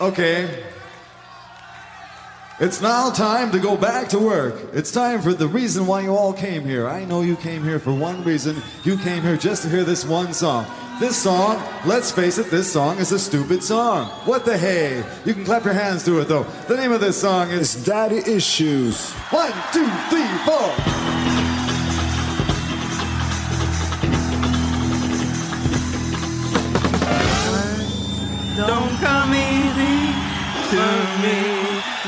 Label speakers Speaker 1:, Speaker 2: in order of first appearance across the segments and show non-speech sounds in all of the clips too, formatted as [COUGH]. Speaker 1: Okay. It's now time to go back to work. It's time for the reason why you all came here. I know you came here for one reason. You came here just to hear this one song. This song, let's face it, this song is a stupid song. What the hey? You can clap your hands to it though. The name of this song is
Speaker 2: It's daddy issues.
Speaker 1: One, two, three, four.
Speaker 3: Don't come easy to me.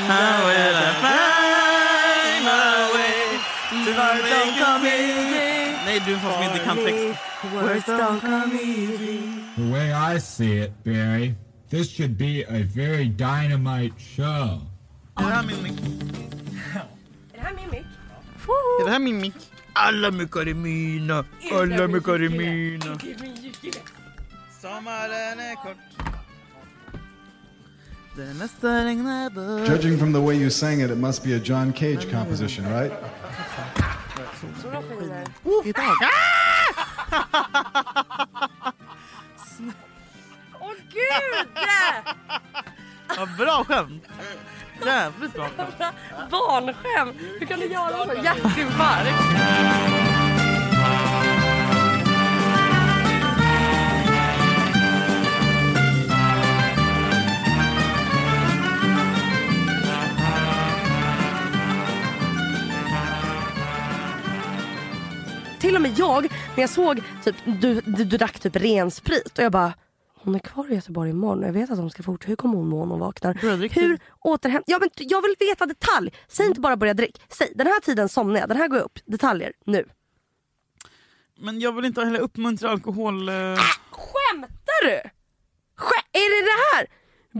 Speaker 3: How will I find my way to Don't come easy. Nej, du får inte kan text. Words don't come easy.
Speaker 4: The way I see it, Barry, this should be a very dynamite show.
Speaker 3: Är det här min mick?
Speaker 5: Är det här min mick?
Speaker 3: Är det här min mick? Alla mickar är mina. Alla mickar är mina.
Speaker 5: Gud, min julkille.
Speaker 3: Sommaren är kort. Den nästa regnar bort.
Speaker 1: Judging from the way you sang it, it must be a John Cage composition, right?
Speaker 5: Stora skivor.
Speaker 3: Idag.
Speaker 5: Åh gud!
Speaker 3: Ja, bra skämt. Jävligt bra skämt.
Speaker 5: Barnskämt! Hur kan du göra så? Hjärtinfarkt! Till och med jag, när jag såg typ, du, du, du drack typ ren sprit och jag bara hon är kvar i Göteborg imorgon och jag vet att hon ska fortsätta. Hur kommer hon må när hon
Speaker 3: Börja
Speaker 5: vaknar?
Speaker 3: dricka.
Speaker 5: Hur återhämtar... Ja, men jag vill veta detalj. Säg inte bara börja dricka. Säg den här tiden somnar jag, den här går jag upp. Detaljer nu.
Speaker 3: Men jag vill inte heller uppmuntra alkohol... eh,
Speaker 5: Skämtar du? Skä är det det här?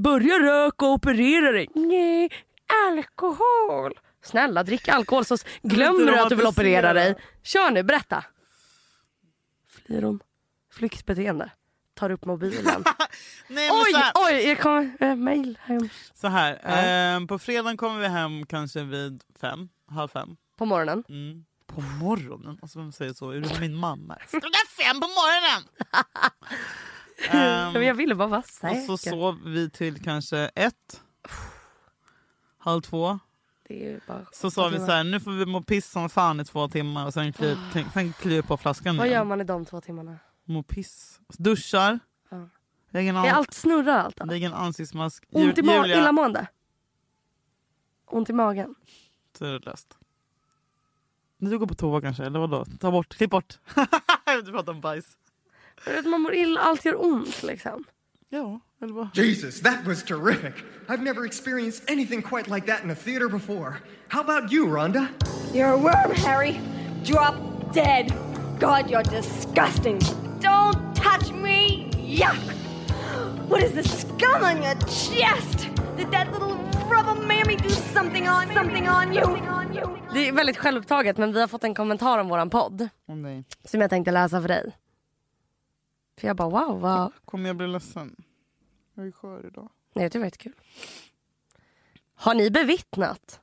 Speaker 5: Börja röka och operera dig. Nej, alkohol. Snälla drick alkohol så s- glömmer du att du vill operera dig. Kör nu, berätta. Flyr hon? Flyktbeteende. Tar
Speaker 3: [LAUGHS]
Speaker 5: upp mobilen.
Speaker 3: Nej, men
Speaker 5: oj,
Speaker 3: så här,
Speaker 5: oj, jag kommer... Äh, mail hem.
Speaker 3: så här ehm, på fredagen kommer vi hem kanske vid fem, halv fem.
Speaker 5: På morgonen.
Speaker 3: Mm. På morgonen? Alltså vem säger så? Är du min mamma? Klockan fem på morgonen! Ehm,
Speaker 5: Men jag ville bara vara säker.
Speaker 3: och så sov vi till kanske ett, halv två.
Speaker 5: Det är ju bara...
Speaker 3: Så sa vi så här, nu får vi må piss som fan i två timmar och sen kli,
Speaker 5: [GASPS]
Speaker 3: sen kliver på flaskan
Speaker 5: Vad
Speaker 3: igen.
Speaker 5: gör man i de två timmarna?
Speaker 3: Må piss. Duschar.
Speaker 5: Ja.
Speaker 3: Lägger en,
Speaker 5: Är
Speaker 3: an-
Speaker 5: allt snurrar allt? då?
Speaker 3: lägger en ansiktsmask.
Speaker 5: Ont i ma-
Speaker 3: Julia,
Speaker 5: illamående? Ont i magen?
Speaker 3: så är det löst. Men Du går på toa kanske, eller vadå? Ta bort, klipp bort. [LAUGHS] du pratar om bajs.
Speaker 5: Du vet, Man mår illa, allt gör ont liksom.
Speaker 3: Ja, eller vad?
Speaker 6: Jesus, that was terrific. I've never experienced anything quite like that in a theater before. How about you, Rhonda?
Speaker 7: You're a worm, Harry. Drop dead. God, you're disgusting. Don't touch me. Yuck. What is the scum on your chest? Did that little rubber mammy do something on something on you?
Speaker 5: Det är väldigt självupptaget men vi har fått en kommentar om våran podd
Speaker 3: Åh nej.
Speaker 5: som jag tänkte läsa för dig. För jag bara wow, vad...
Speaker 3: Kommer jag bli ledsen? Jag är skör idag.
Speaker 5: Nej, jag tycker det var jättekul. Har ni bevittnat?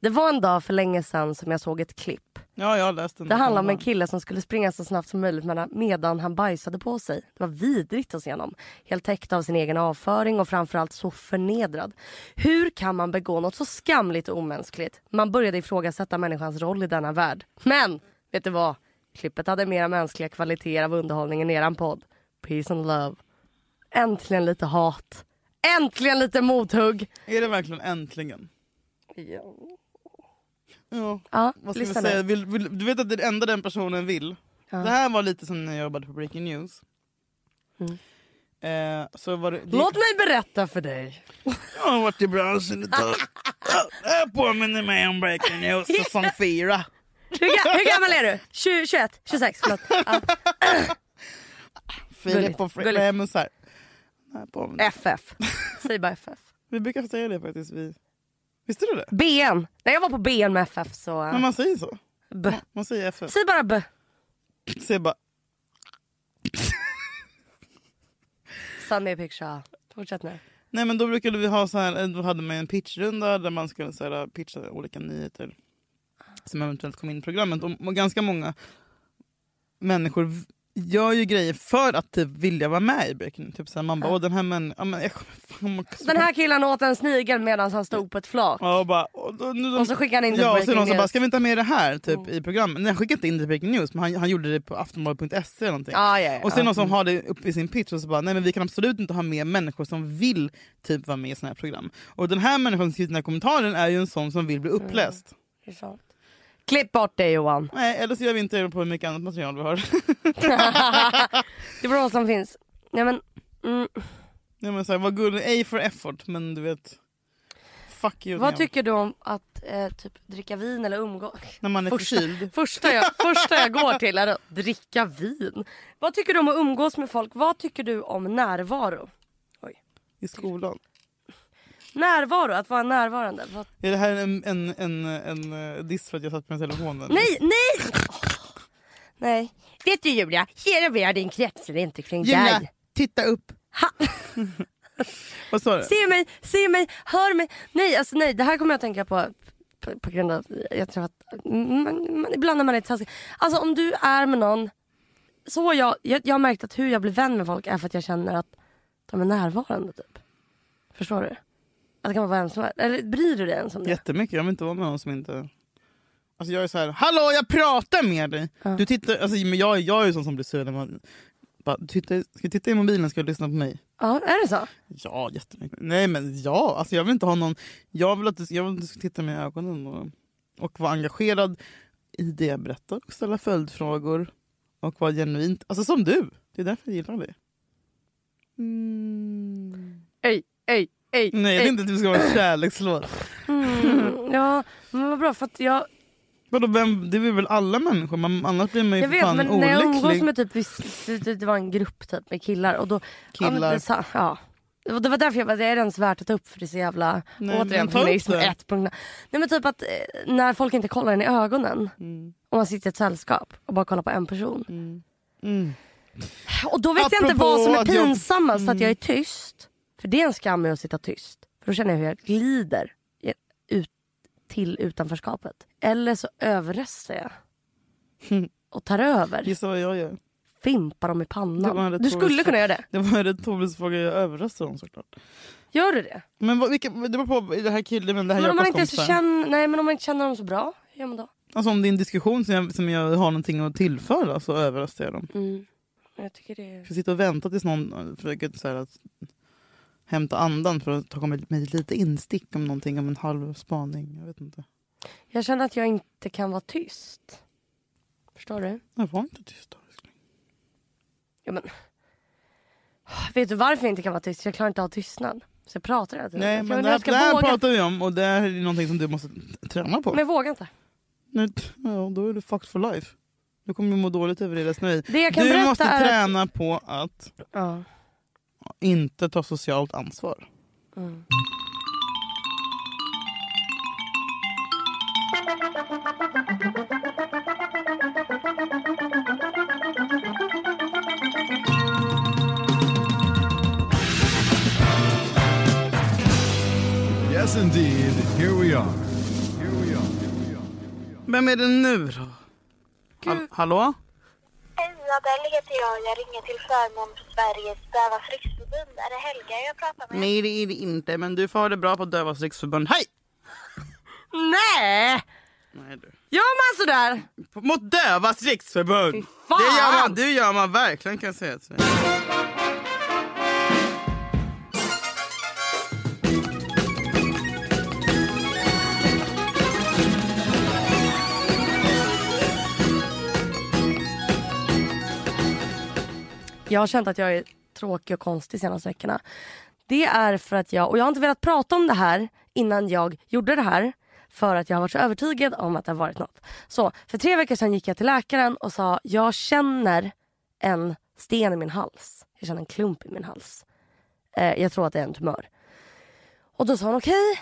Speaker 5: Det var en dag för länge sedan som jag såg ett klipp.
Speaker 3: Ja, jag har läst den.
Speaker 5: Det handlar om en kille som skulle springa så snabbt som möjligt medan- medan han bajsade på sig. Det var vidrigt att se honom. Helt täckt av sin egen avföring och framförallt så förnedrad. Hur kan man begå något så skamligt och omänskligt? Man började ifrågasätta människans roll i denna värld. Men, vet du vad? Klippet hade mera mänskliga kvaliteter av underhållningen i eran podd. Peace and love. Äntligen lite hat. Äntligen lite mothugg.
Speaker 3: Är det verkligen äntligen? Ja.
Speaker 5: Ja,
Speaker 3: Vad ska vi
Speaker 5: lyssna
Speaker 3: säga?
Speaker 5: nu.
Speaker 3: Vill, vill, du vet att det enda den personen vill. Det här var lite som när jag jobbade på Breaking News. Mm. Eh, så var det, det,
Speaker 5: Låt mig berätta för dig.
Speaker 3: Jag har varit i branschen ett [LAUGHS] tag. Det här påminner mig om Breaking News säsong 4.
Speaker 5: Hur, ga- hur gammal är du? 20, 21? 26? Förlåt. Ja.
Speaker 3: Filip och Fredrik.
Speaker 5: gulligt.
Speaker 3: Nej, men så här. Det här påminner-
Speaker 5: FF. Säg bara FF.
Speaker 3: Vi brukar säga det faktiskt. Vi. Visste du det?
Speaker 5: BN. När jag var på BN med FF så...
Speaker 3: Men man säger så.
Speaker 5: B.
Speaker 3: Man säger FF.
Speaker 5: Säg bara B.
Speaker 3: Säger bara
Speaker 5: Sunday picture. Fortsätt nu.
Speaker 3: Nej men då brukade vi ha så här, eh, då hade man en pitchrunda där man skulle så här, eh, pitcha olika nyheter som eventuellt kom in i programmet. Och, och ganska många människor v- gör ju grejer för att typ vilja vara med i Breaking. Typ såhär, man bara, åh den här män, ja, men, jag, fan, man,
Speaker 5: Den här killen åt en snigel medan han stod på ett flak.
Speaker 3: Ja, och, bara, och, då, nu,
Speaker 5: Och så skickar han in det på
Speaker 3: ja, och så
Speaker 5: Breaking
Speaker 3: någon som bara,
Speaker 5: News. Mm.
Speaker 3: ska vi inte ha med det här typ, i programmet? Nej, han skickade inte in det i Breaking News, men han, han gjorde det på aftonbladet.se eller någonting.
Speaker 5: Ah, Ja, ja, ja.
Speaker 3: Och sen någon som har det uppe i sin pitch och så bara, nej men vi kan absolut inte ha med människor som vill typ vara med i sådana här program. Och den här människan som skriver den här kommentaren är ju en sån som vill bli
Speaker 5: Mm.
Speaker 3: uppläst.
Speaker 5: Det är sant. Klipp bort det
Speaker 3: [LAUGHS]
Speaker 5: Johan.
Speaker 3: Nej, eller så gör vi inte det på hur mycket annat material vi har. [LAUGHS]
Speaker 5: Det beror på vad som finns. Nej men, mm.
Speaker 3: nej, men så här, vad gullig, A for effort, men du vet. Fuck you.
Speaker 5: Vad
Speaker 3: Leon.
Speaker 5: tycker du om att eh, typ, dricka vin eller umgås?
Speaker 3: När man är
Speaker 5: Första,
Speaker 3: förkyld.
Speaker 5: första, jag, första jag går till är att dricka vin. Vad tycker du om att umgås med folk? Vad tycker du om närvaro?
Speaker 3: I skolan.
Speaker 5: Närvaro, att vara närvarande. Vad...
Speaker 3: Är det här en, en, en, en, eh, diss för att jag satt med telefonen?
Speaker 5: Nej, nej! Nej. Vet du Julia, hela världen kretsar inte kring
Speaker 3: Julia,
Speaker 5: dig.
Speaker 3: titta upp!
Speaker 5: Ha.
Speaker 3: [LAUGHS] Vad sa du?
Speaker 5: Se mig, se mig, hör mig. Nej, alltså nej, det här kommer jag att tänka på på, på grund av jag har träffat, man, man, ibland när man är taskig. Alltså om du är med någon, så jag, jag, jag har märkt att hur jag blir vän med folk är för att jag känner att de är närvarande typ. Förstår du? Att det kan vara vem som helst. Eller bryr du dig ens om det?
Speaker 3: Jättemycket, jag vill inte vara med någon som inte... Alltså jag är så här, hallå jag pratar med dig! Du tittar, alltså, men jag, jag är ju sån som blir sur när man... Bara, du tittar, ska du titta i mobilen ska du lyssna på mig?
Speaker 5: Ja, är det så?
Speaker 3: Ja, jättemycket. Nej men ja, alltså jag vill inte ha någon... Jag vill att du, jag vill att du ska titta mig i ögonen och, och vara engagerad i det jag berättar och ställa följdfrågor. Och vara genuint, alltså som du! Det är därför jag gillar dig. Mm.
Speaker 5: Ej, ej, ej.
Speaker 3: Nej jag
Speaker 5: ej.
Speaker 3: tänkte inte att du ska vara kärleksfull.
Speaker 5: Mm, ja, men vad bra för att jag,
Speaker 3: Vadå, vem, det vill väl alla människor? Man, annars blir man ju
Speaker 5: jag
Speaker 3: för
Speaker 5: vet
Speaker 3: fan
Speaker 5: men när jag umgås
Speaker 3: olycklig.
Speaker 5: med typ, visst, det, det var en grupp typ med killar och då Ja, men
Speaker 3: Killar.
Speaker 5: det, sa- ja. Det var- det var därför jag bara, det är ens värt att ta upp för det är så jävla,
Speaker 3: Nej,
Speaker 5: återigen
Speaker 3: men ta upp
Speaker 5: feminism
Speaker 3: det.
Speaker 5: 1.0. Nej men typ att eh, när folk inte kollar en i ögonen.
Speaker 3: Mm.
Speaker 5: Om man sitter i ett sällskap och bara kollar på en person. Och då vet jag inte
Speaker 3: Mm. Apropå
Speaker 5: vad som är
Speaker 3: att jag- Mm.
Speaker 5: pinsammast att jag är tyst. För det är en skam med att sitta tyst. För då känner jag hur jag glider i- ut till utanförskapet. Eller så överröstar jag.
Speaker 3: [LAUGHS]
Speaker 5: Och tar över.
Speaker 3: Gissa vad jag gör?
Speaker 5: Fimpar dem i
Speaker 3: Det var en
Speaker 5: pannan. Du
Speaker 3: retorisk
Speaker 5: skulle kunna
Speaker 3: fråga.
Speaker 5: göra det.
Speaker 3: Det var en retorisk fråga, jag överröstar dem såklart.
Speaker 5: Gör du det?
Speaker 3: Men vad, vilka, det beror på, är det här killen, men det här
Speaker 5: Men om, man
Speaker 3: Jakobs
Speaker 5: inte så
Speaker 3: kompisar.
Speaker 5: känner, nej, men om man inte känner dem så bra, hur gör man då?
Speaker 3: Alltså om det är en diskussion som jag, som jag har någonting att tillföra så överröstar jag
Speaker 5: Mm.
Speaker 3: dem.
Speaker 5: Jag tycker det är...
Speaker 3: Jag sitter och väntar tills någon eh, försöker så här, att hämta andan för att ta kommit med lite instick om någonting, om en halv spaning. Jag vet inte.
Speaker 5: Jag känner att jag inte kan vara tyst. Förstår du?
Speaker 3: Jag var inte tyst då. älskling.
Speaker 5: Ja, men... Vet du varför jag inte kan vara tyst? Jag klarar inte av tystnad. Så jag pratar hela tiden.
Speaker 3: Nej
Speaker 5: jag
Speaker 3: men det
Speaker 5: jag
Speaker 3: här,
Speaker 5: ska
Speaker 3: det här
Speaker 5: våga.
Speaker 3: pratar vi om och det här är någonting som du måste träna på.
Speaker 5: Men jag vågar inte.
Speaker 3: Nu, t- ja, då är du fucked for life. Du kommer ju må dåligt över det resten av ditt
Speaker 5: Det jag kan
Speaker 3: Du
Speaker 5: berätta
Speaker 3: måste
Speaker 5: är att-
Speaker 3: träna på att
Speaker 5: Ja.
Speaker 3: inte ta socialt ansvar.
Speaker 1: Yes, indeed. Here we are. Here we are.
Speaker 3: Vem är det nu då? Hall- hallå?
Speaker 8: Isabel heter jag. Jag ringer till förmån för Sveriges Dövas Riksförbund. Är det Helga jag pratar med?
Speaker 3: Nej det är det inte men du får ha det bra på Dövas riksförbund. Hej!
Speaker 5: Nej!
Speaker 3: Nej, du.
Speaker 5: Gör man sådär?
Speaker 3: På- Mot Dövas riksförbund!
Speaker 5: Fy fan!
Speaker 3: Det gör man, du gör man verkligen kan jag säga till dig.
Speaker 5: Jag har känt att jag är tråkig och konstig senaste veckorna. Det är för att jag, och jag har inte velat prata om det här innan jag gjorde det här. För att jag har varit så övertygad om att det har varit något. Så för tre veckor sedan gick jag till läkaren och sa jag känner en sten i min hals. Jag känner en klump i min hals. Eh, jag tror att det är en tumör. Och då sa hon okej.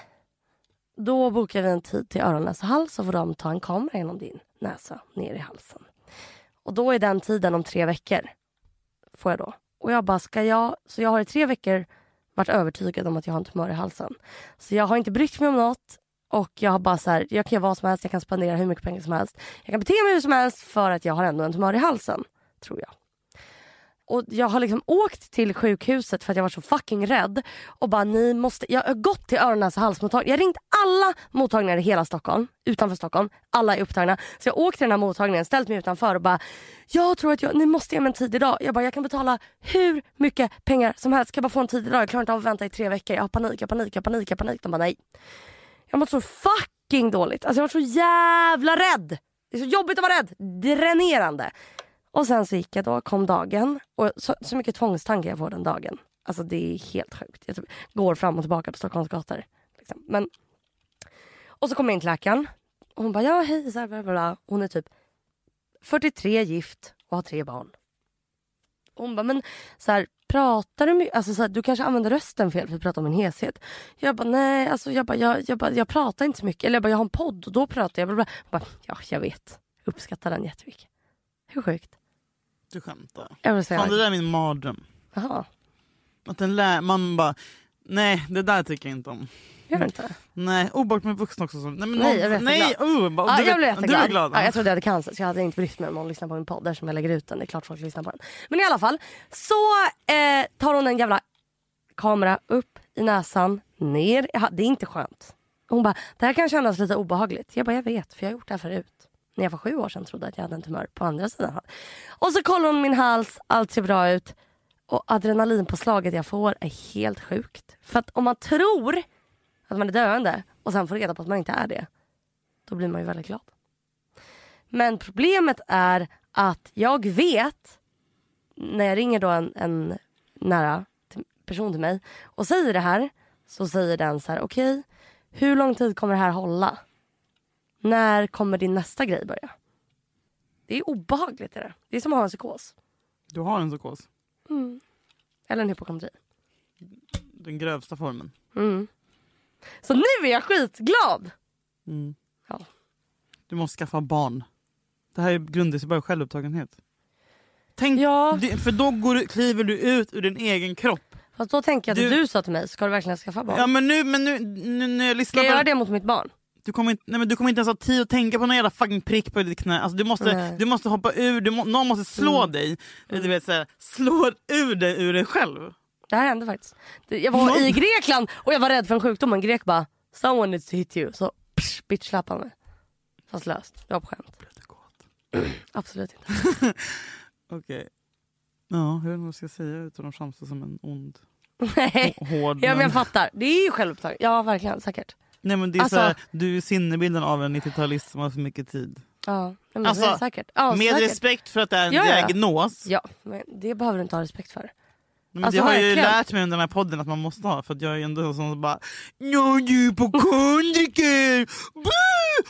Speaker 5: Då bokar vi en tid till öron, näsa, hals så får de ta en kamera genom din näsa ner i halsen. Och då är den tiden om tre veckor får jag då. Och jag bara, ska jag... Så jag har i tre veckor varit övertygad om att jag har en tumör i halsen. Så jag har inte brytt mig om något. Och jag har bara så här, jag kan göra vad som helst, jag kan spendera hur mycket pengar som helst. Jag kan bete mig hur som helst för att jag har ändå en tumör i halsen. Tror jag. Och jag har liksom åkt till sjukhuset för att jag var så fucking rädd. Och bara ni måste, jag har gått till öron och halsmottagningen. Jag har ringt alla mottagningar i hela Stockholm, utanför Stockholm. Alla är upptagna. Så jag åkte till den här mottagningen, ställt mig utanför och bara jag tror att jag, ni måste ge mig en tid idag. Jag bara jag kan betala hur mycket pengar som helst. Kan jag bara få en tid idag? Jag klarar inte av att vänta i tre veckor. Jag har panik, jag har panik, jag har panik, jag har panik. De bara nej. Jag mått så fucking dåligt. Alltså jag var så jävla rädd. Det är så jobbigt att vara rädd. Dränerande. Och sen så gick jag då, kom dagen. Och så, så mycket tvångstankar jag får den dagen. Alltså det är helt sjukt. Jag typ går fram och tillbaka på Stockholms gator. Liksom. Men, och så kommer jag in till läkaren. Och hon bara, ja hej, så här, bla, bla, bla. Hon är typ 43, gift och har tre barn. Hon bara, men så här, pratar du mycket? Alltså, så här, du kanske använder rösten fel för att prata om en heshet. Jag bara, nej, alltså, jag, bara, jag, jag, bara, jag pratar inte så mycket. Eller jag bara, jag har en podd och då pratar jag. Bla, bla. Hon bara, ja, jag vet. Uppskattar den jättemycket. Hur sjukt?
Speaker 3: Du skämtar.
Speaker 5: Jag vill säga,
Speaker 3: Fan, det där är min mardröm.
Speaker 5: jaha,
Speaker 3: Att en lä- man bara, nej det där tycker jag inte om.
Speaker 5: gör du inte?
Speaker 3: Nej, obehagligt med vuxna också. som- Nej, men
Speaker 5: Nej,
Speaker 3: någon-
Speaker 5: jag blev
Speaker 3: nej,
Speaker 5: jätteglad.
Speaker 3: uh, bara,
Speaker 5: Ja,
Speaker 3: du,
Speaker 5: jag blev
Speaker 3: vet-
Speaker 5: jätteglad.
Speaker 3: Du är glad.
Speaker 5: ja, jag trodde jag hade cancer så jag hade inte brytt mig om någon lyssnar på min podd där som jag lägger ut den. Det är klart folk lyssnar på den. Men i alla fall så eh, tar hon en jävla kamera upp i näsan, ner. Jag ha- Det är inte skönt. Hon bara, det här kan kännas lite obehagligt. Jag bara, jag vet för jag har gjort det här förut. När jag var sju år sedan trodde jag att jag hade en tumör på andra sidan. Och så kollar hon min hals, allt ser bra ut. Och adrenalinpåslaget jag får är helt sjukt. För att om man tror att man är döende och sen får reda på att man inte är det då blir man ju väldigt glad. Men problemet är att jag vet när jag ringer då en, en nära till- person till mig och säger det här så säger den så här okej hur lång tid kommer det här hålla? När kommer din nästa grej börja? Det är obehagligt det där. Det är som att ha en psykos.
Speaker 3: Du har en psykos.
Speaker 5: Eller en hypokondri.
Speaker 3: Den grövsta formen.
Speaker 5: Så nu är jag skitglad!
Speaker 3: Mm. Du måste skaffa barn. Det här är grundar sig bara i självupptagenhet. Tänk,
Speaker 5: Ja.
Speaker 3: det, för då går du, kliver du ut ur din egen kropp.
Speaker 5: Fast då tänker jag att du,
Speaker 3: Du-
Speaker 5: du sa till mig, ska du verkligen skaffa barn?
Speaker 3: Ja men nu, men nu, nu, nu jag lyssnar
Speaker 5: Ska jag
Speaker 3: på
Speaker 5: göra det mot mitt barn?
Speaker 3: Du kommer, inte, nej men du kommer inte ens ha tid att tänka på någon jävla fucking prick på ditt knä. Alltså du, måste,
Speaker 5: Nej. Mm.
Speaker 3: du måste hoppa ur, du må, någon måste slå dig. Du vet, så här, slå ur dig ur dig själv.
Speaker 5: Det här hände faktiskt. Det- Jag var i Grekland och jag var rädd för en sjukdom. En grek bara “someone needs to hit you” så psh, bitch-slappade han mig. Fast löst. Det var på skämt. Absolut inte.
Speaker 3: Okej. Ja, hur man ska säga utan att framstå som en ond,
Speaker 5: [LAUGHS] Nej.
Speaker 3: hård...
Speaker 5: Ja men jag fattar. Det är ju självupptaget. Ja verkligen, säkert.
Speaker 3: nej, men det är
Speaker 5: Alltså-
Speaker 3: så här, du är sinnebilden av en 90-talist som har för mycket tid.
Speaker 5: Ja, nej, men
Speaker 3: Alltså,
Speaker 5: det är säkert. Ja,
Speaker 3: Med
Speaker 5: säkert.
Speaker 3: respekt för att det är en
Speaker 5: Ja, ja.
Speaker 3: diagnos.
Speaker 5: Ja, men det behöver du inte ha respekt för.
Speaker 3: Nej, Men
Speaker 5: Alltså,
Speaker 3: det har jag ju
Speaker 5: verkligen.
Speaker 3: lärt mig under den här podden att man måste ha för att jag är ju ändå en sån som bara Jag är ju
Speaker 5: [LAUGHS]
Speaker 3: på kondiker!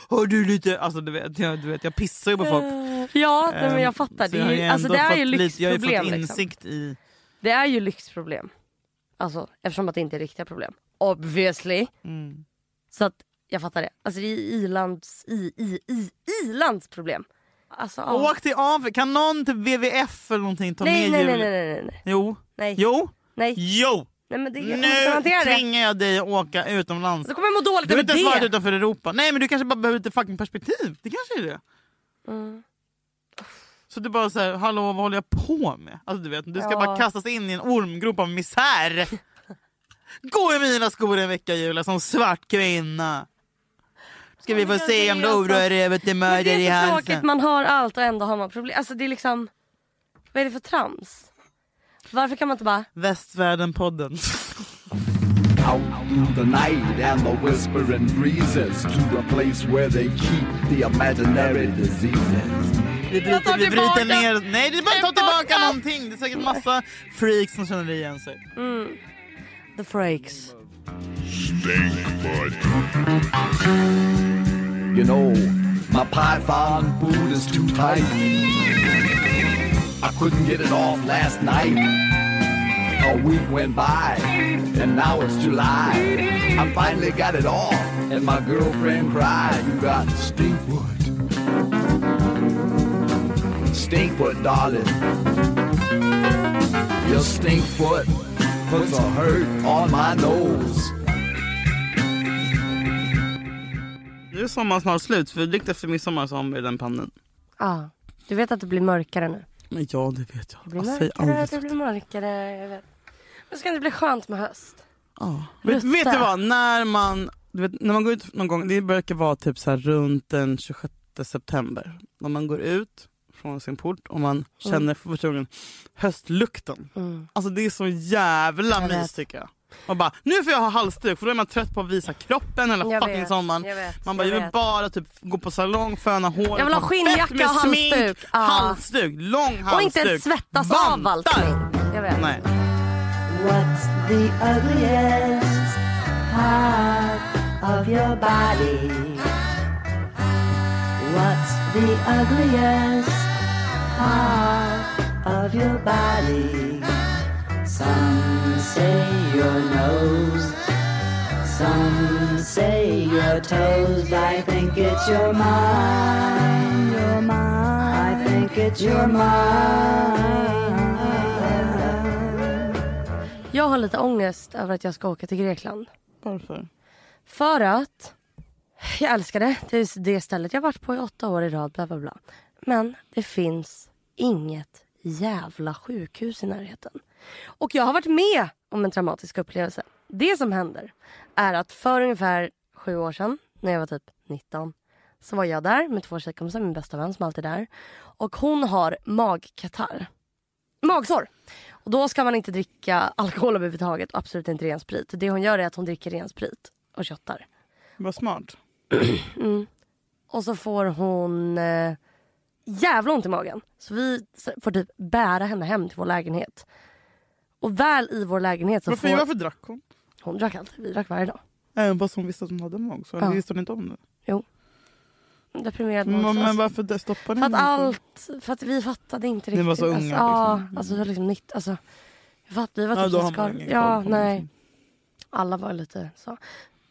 Speaker 3: Har du lite... Alltså du vet, jag, du vet, jag pissar ju på folk.
Speaker 5: Ja, nej, men jag fattar.
Speaker 3: Eh, Ehm, så
Speaker 5: Det
Speaker 3: har
Speaker 5: är ju,
Speaker 3: ju
Speaker 5: alltså,
Speaker 3: ändå
Speaker 5: det är
Speaker 3: fått
Speaker 5: ju
Speaker 3: lite- Jag har ju
Speaker 5: lyxproblem.
Speaker 3: fått
Speaker 5: Liksom.
Speaker 3: insikt i...
Speaker 5: Det är ju lyxproblem. Alltså, eftersom att det inte är riktiga problem. Obviously.
Speaker 3: Mm.
Speaker 5: Så att jag fattar det. Alltså det är ilands, i, i, i, ilands problem. Alltså, ja.
Speaker 3: Åk till Afrika, kan någon till WWF eller någonting ta
Speaker 5: nej,
Speaker 3: med
Speaker 5: nej, nej,
Speaker 3: Julia?
Speaker 5: nej, nej, nej,
Speaker 3: Jo,
Speaker 5: nej,
Speaker 3: jo,
Speaker 5: nej,
Speaker 3: jo!
Speaker 5: nej, men det, jag måste
Speaker 3: Nu
Speaker 5: hantera det. Alltså,
Speaker 3: tvingar jag dig att åka utomlands.
Speaker 5: Då kommer jag må dåligt
Speaker 3: Du har
Speaker 5: över
Speaker 3: inte ens varit
Speaker 5: det.
Speaker 3: utanför Europa. Nej men du kanske bara behöver lite fucking perspektiv. Det kanske är det.
Speaker 5: Mm.
Speaker 3: Så du bara såhär, hallå vad håller jag på med? Alltså du vet, du ska
Speaker 5: Ja.
Speaker 3: bara kastas in i en ormgrop av
Speaker 5: [LAUGHS]
Speaker 3: misär. Gå i mina skor en vecka Julia som svart kvinna. Ska vi få
Speaker 5: men
Speaker 3: se om
Speaker 5: det är
Speaker 3: du rör
Speaker 5: så-
Speaker 3: över till
Speaker 5: Men
Speaker 3: mörder i
Speaker 5: det är så tråkigt,
Speaker 3: halsen.
Speaker 5: man har allt och ändå har man problem. Alltså det är liksom, vad är det för trams? Varför kan man inte bara,
Speaker 3: Västvärlden-podden.
Speaker 2: Out through the night and the whispering breezes to the place where they keep the imaginary diseases.
Speaker 3: Vi bryter,
Speaker 5: tar
Speaker 3: vi bryter
Speaker 5: tillbaka.
Speaker 3: ner... Nej det är bara
Speaker 5: Jag
Speaker 3: att ta
Speaker 5: är
Speaker 3: tillbaka
Speaker 5: borta.
Speaker 3: någonting. Det är säkert massa freaks som känner igen sig.
Speaker 5: Mm. the freaks.
Speaker 2: You know, my python boot is too tight. I couldn't get it off last night. A week went by, and now it's July. I finally got it off, and my girlfriend cried, You got stinkwood. Stinkfoot, darling. Your stinkfoot puts a hurt on my nose.
Speaker 3: Nu är sommaren snart slut för direkt efter midsommar så har vi den pannan.
Speaker 5: Ja, du vet att det blir mörkare nu.
Speaker 3: Men ja, det vet
Speaker 5: Det
Speaker 3: jag. Alltså,
Speaker 5: blir
Speaker 3: jag säger aldrig
Speaker 5: mörkare, det
Speaker 3: så.
Speaker 5: blir mörkare. Jag vet. Men ska det bli skönt med höst?
Speaker 3: Ja. Vet,
Speaker 5: Rutta.
Speaker 3: vet du vad, när man, du vet, när man går ut någon gång, det brukar vara typ så här runt den 26 september. När man går ut från sin port och man känner för första gången höstlukten.
Speaker 5: Mm.
Speaker 3: Alltså det är så jävla
Speaker 5: Jag vet.
Speaker 3: mys tycker jag. Man bara, nu får jag ha halsduk för då är man trött på att visa kroppen hela
Speaker 5: Jag
Speaker 3: fucking
Speaker 5: vet,
Speaker 3: sommaren.
Speaker 5: jag vet,
Speaker 3: man bara,
Speaker 5: jag
Speaker 3: jag, vill
Speaker 5: vet.
Speaker 3: bara typ gå på salong, föna håret,
Speaker 5: Jag vill ha
Speaker 3: fett
Speaker 5: skinnjacka
Speaker 3: med
Speaker 5: och
Speaker 3: smink,
Speaker 5: halsduk. Ja.
Speaker 3: Halsduk, lång halsduk.
Speaker 5: Och inte ens svettas av
Speaker 3: vantar.
Speaker 5: allting. Jag vet.
Speaker 3: Nej.
Speaker 9: What's the ugliest part of your body? What's the ugliest part of your body? Some say your nose, some say your toes. I think it's your mind, your mind. I think it's your mind.
Speaker 5: Jag har lite ångest över att jag ska åka till Grekland.
Speaker 3: Varför?
Speaker 5: För att jag älskar det. Det är det stället jag har varit på i åtta år i rad. Bla, bla, bla. Men det finns inget jävla sjukhus i närheten. Och jag har varit med om en traumatisk upplevelse. Det som händer är att för ungefär sju år sedan, när jag var typ 19 så var jag där med två tjejkompisar, min bästa vän som alltid är där. Och hon har magkatarr. Magsår. Och då ska man inte dricka alkohol överhuvudtaget och absolut inte ren sprit. Det hon gör är att hon dricker ren sprit och köttar.
Speaker 3: Vad smart.
Speaker 5: Och så får hon eh, jävla ont i magen. Så vi s- får typ bära henne hem till vår lägenhet. Och väl i vår lägenhet så
Speaker 3: Varför,
Speaker 5: får...
Speaker 3: varför drack hon?
Speaker 5: Hon drack alltid, vi drack varje dag.
Speaker 3: Även fast hon visste att hon hade magsår?
Speaker 5: Ja.
Speaker 3: Eller Visste hon inte om det?
Speaker 5: Deprimerad
Speaker 3: Men, men
Speaker 5: alltså.
Speaker 3: varför det- stoppade
Speaker 5: För att
Speaker 3: henne inte?
Speaker 5: allt, för att vi fattade inte
Speaker 3: Ni
Speaker 5: riktigt.
Speaker 3: var så unga,
Speaker 5: Alltså,
Speaker 3: liksom.
Speaker 5: ja,
Speaker 3: Mm.
Speaker 5: alltså vi var liksom nytt, alltså. Jag fattade, vi var
Speaker 3: Ja,
Speaker 5: typ
Speaker 3: då
Speaker 5: så
Speaker 3: har man
Speaker 5: skar-
Speaker 3: ingen
Speaker 5: Ja,
Speaker 3: koll på
Speaker 5: nej.
Speaker 3: någonting.
Speaker 5: Alla var lite så.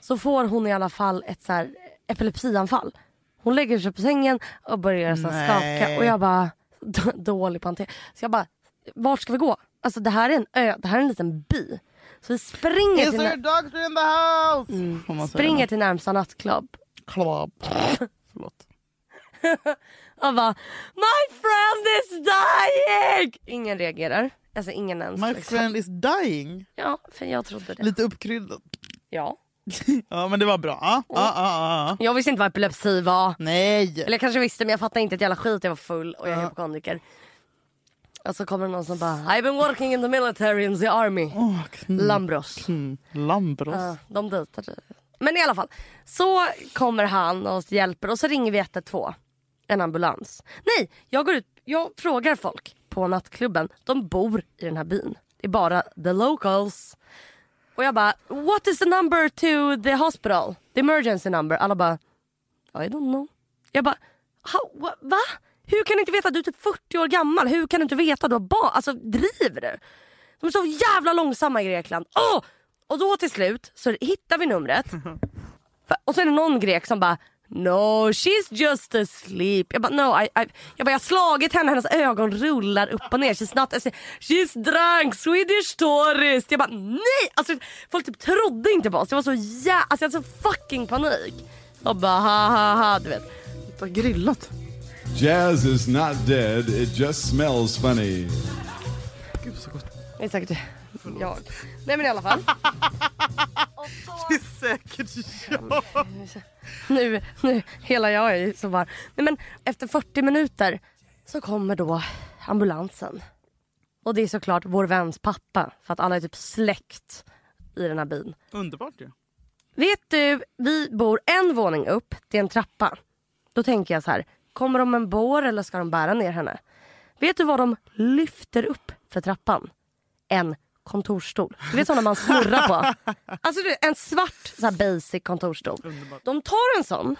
Speaker 5: Så får hon i alla fall ett så här epilepsianfall. Hon lägger sig på sängen och börjar så här
Speaker 3: Nej.
Speaker 5: skaka och jag bara, [LAUGHS] d- dålig på att hantera. Så jag bara, vart ska vi gå? Alltså det här är en ö, det här är en liten by. Så vi springer,
Speaker 3: Is
Speaker 5: till,
Speaker 3: there
Speaker 5: när-
Speaker 3: doctor in the house? Mm. Får man säga
Speaker 5: springer
Speaker 3: då?
Speaker 5: till närmsta nattklubb [LAUGHS]
Speaker 3: Klab. Förlåt.
Speaker 5: Han bara My friend is dying! Ingen reagerar. Alltså ingen ens.
Speaker 3: My
Speaker 5: liksom.
Speaker 3: friend is dying.
Speaker 5: Ja, för jag trodde det.
Speaker 3: Lite uppkryddat.
Speaker 5: Ja.
Speaker 3: [LAUGHS] Ja men det var bra. Ah, Ja, ja, ja, ja.
Speaker 5: Jag visste inte vad epilepsi var.
Speaker 3: Nej!
Speaker 5: Eller jag kanske visste men jag fattade inte ett jävla skit. Jag var full och jag är hypokondriker. Och så kommer det någon som bara I've been working in the military and the army.
Speaker 3: Åh, kn-
Speaker 5: Lambros.
Speaker 3: mm, Lambros.
Speaker 5: Ja, de dejtade. Men i alla fall. Så kommer han och hjälper och så ringer vi 112. En ambulans. Nej, jag går ut. Jag frågar folk på nattklubben. De bor i den här byn. Det är bara the locals. Och jag bara, what is the number to the hospital? The emergency number. Alla bara, I don't know. Jag bara, "How- wha- va? Hur kan du inte veta? Du är typ 40 år gammal. Hur kan du inte veta? Du har barn. Alltså driver du? De är så jävla långsamma i Grekland. Åh! Och då till slut så hittar vi numret. Och så är det någon grek som bara No she's just asleep. Jag bara, no, I, I, jag bara jag har slagit henne, hennes ögon rullar upp och ner. She's not asleep. She's drunk, Swedish tourist. Jag bara nej! Alltså, folk typ trodde inte på oss. Jag var så jä... Alltså, jag hade så fucking panik. Och bara ha ha ha du vet.
Speaker 3: Du har grillat.
Speaker 1: Jazz is not dead, it just smells funny.
Speaker 3: Gud så gott.
Speaker 5: Det är säkert jag. Nej men i alla fall.
Speaker 3: [LAUGHS] Det är säkert jag.
Speaker 5: [LAUGHS] nu, nu, hela jag är ju så bara. Nej men efter 40 minuter så kommer då ambulansen. Och det är såklart vår väns pappa för att alla är typ släkt i den här byn.
Speaker 3: Underbart ju.
Speaker 5: Vet du, vi bor en våning upp, det är en trappa. Då tänker jag så här, kommer de med en bår eller ska de bära ner henne? Vet du vad de lyfter upp för trappan? En kontorsstol. Du vet sådana man snurrar på? Alltså du, en svart så här basic kontorsstol. De tar en sån,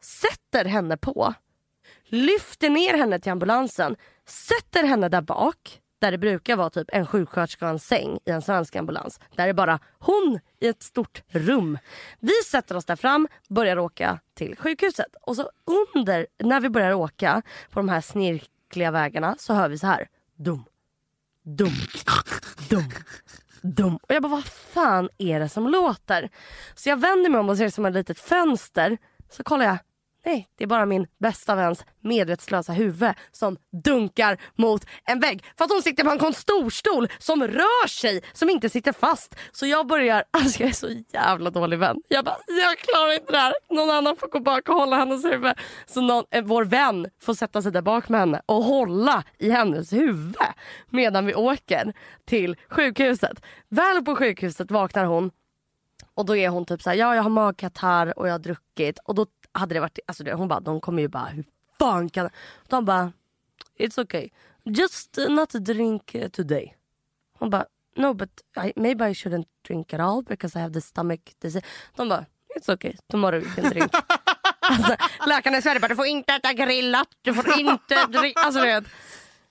Speaker 5: sätter henne på, lyfter ner henne till ambulansen, sätter henne där bak där det brukar vara typ en sjuksköterska och en säng i en svensk ambulans. Där är bara hon i ett stort rum. Vi sätter oss där fram, börjar åka till sjukhuset. Och så under, när vi börjar åka på de här snirkliga vägarna så hör vi så här. Dum, dum, dum, dum. Och jag bara, vad fan är det som låter? Så jag vänder mig om och ser som ett litet fönster. Så kollar jag, Nej, det är bara min bästa väns medvetslösa huvud som dunkar mot en vägg. För att hon sitter på en kontorstol som rör sig, som inte sitter fast. Så jag börjar, [LAUGHS] alltså jag är så jävla dålig vän. Jag bara, jag klarar inte det här. Någon annan får gå bak och hålla hennes huvud. Så någon, eh, vår vän får sätta sig där bak med henne och hålla i hennes huvud medan vi åker till sjukhuset. Väl på sjukhuset vaknar hon och då är hon typ så här, ja jag har magkatarr och jag har druckit. Och då hade det varit, alltså det- hon bara, de kommer ju bara, hur fan kan De bara, it's okay. Just not drink eh, today. Hon bara, no but I, maybe I shouldn't drink at all because I have the stomach disease. De bara, it's okay, tomorrow you can
Speaker 3: [LAUGHS]
Speaker 5: drink. alltså, läkarna i Sverige bara, du får inte äta grillat, du får inte dricka. Alltså, du vet.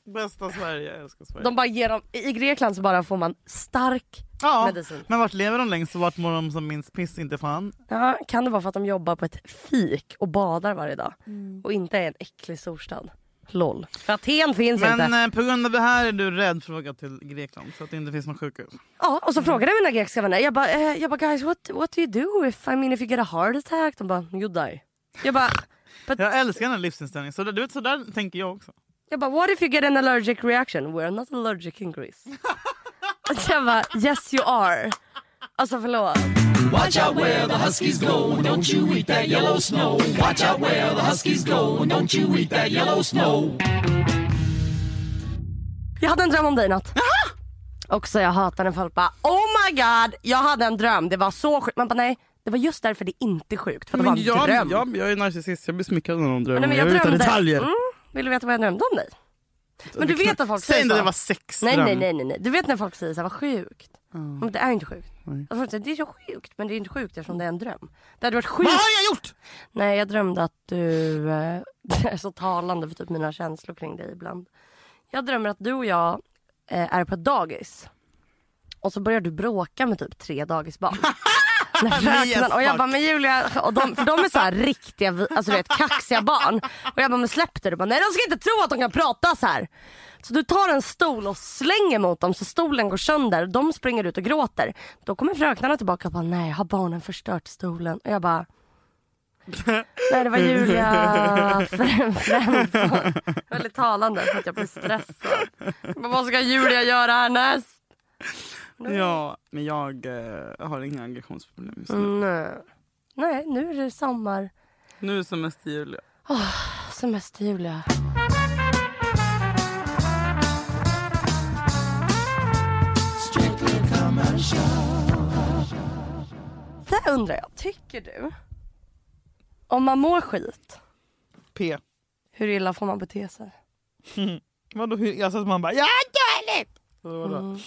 Speaker 3: Bästa Sverige, jag älskar Sverige.
Speaker 5: de bara ger dem, i Grekland så bara får man stark
Speaker 3: ja,
Speaker 5: medicin.
Speaker 3: Men vart lever de längst och vart mår de som minst piss? Inte fan.
Speaker 5: Ja, kan det vara för att de jobbar på ett fik och badar varje dag
Speaker 3: Mm.
Speaker 5: och inte är en äcklig storstad? Lol. För Aten finns
Speaker 3: men,
Speaker 5: inte.
Speaker 3: eh, på grund av det här är du rädd för att åka till Grekland så att det inte finns något sjukhus.
Speaker 5: Ja, och så frågade jag mina grekiska vänner. Jag bara, eh, jag bara guys what, what do you do if, I mean, if you get a heart attack? De bara you die. Jag bara,
Speaker 3: Jag älskar den här livsinställningen. Så, där- du vet, så där tänker jag också.
Speaker 5: jag bara what if you get an allergic reaction? We're not allergic in Greece. Alltså, jag bara yes you are. Alltså förlåt.
Speaker 2: Watch out where the huskies go, and don't you eat that yellow snow. Watch out where the huskies go, and don't you eat that yellow snow.
Speaker 5: Jag hade en dröm om dig i natt. Också jag hatar när folk bara oh my god jag hade en dröm det var så sjukt. Man bara nej det var just därför det inte är sjukt för det var en
Speaker 3: jag,
Speaker 5: dröm.
Speaker 3: jag, jag är narcissist, jag blir smickrad när någon drömmer.
Speaker 5: Nej, men
Speaker 3: jag vill veta
Speaker 5: drömde-
Speaker 3: detaljer.
Speaker 5: Mm, vill du veta vad jag drömde om dig? Men du vet att folk
Speaker 3: Säg
Speaker 5: säger
Speaker 3: inte
Speaker 5: så.
Speaker 3: det var sexdröm.
Speaker 5: nej, nej, nej, nej, nej. Du vet när folk säger så här, vad sjukt. Men det är inte sjukt. Jag får säga, det är så sjukt men det är inte sjukt eftersom det är en dröm. Det hade varit sjukt. Vad har
Speaker 3: jag gjort?
Speaker 5: Nej jag drömde att du, eh, [LAUGHS] det är så talande för typ mina känslor kring dig ibland. Jag drömmer att du och jag eh, är på ett dagis. Och så börjar du bråka med typ tre dagisbarn. När fröknen, och jag bara men Julia, och de, för de är så här riktiga, vi- alltså du vet kaxiga barn. Och jag bara men släpp det. Du bara nej de ska inte tro att de kan prata så här. Så du tar en stol och slänger mot dem så stolen går sönder. De springer ut och gråter. Då kommer fröknarna tillbaka och bara nej har barnen förstört stolen? Och jag bara Nej det var Julia Frem- Fremson. Väldigt talande för att jag blir stressad. Men vad ska Julia göra härnäst?
Speaker 3: Ja, men jag eh, har inga aggressionsproblem just nu.
Speaker 5: Mm, Nej. Nej nu är det sommar.
Speaker 3: Nu är semester Julia.
Speaker 5: Oh, semester Julia. Där undrar jag, tycker du om man mår skit,
Speaker 3: P.
Speaker 5: hur illa får man bete sig?
Speaker 3: Vadå? hur- Alltså att man bara ja dåligt! Eller vadå?
Speaker 5: Mm.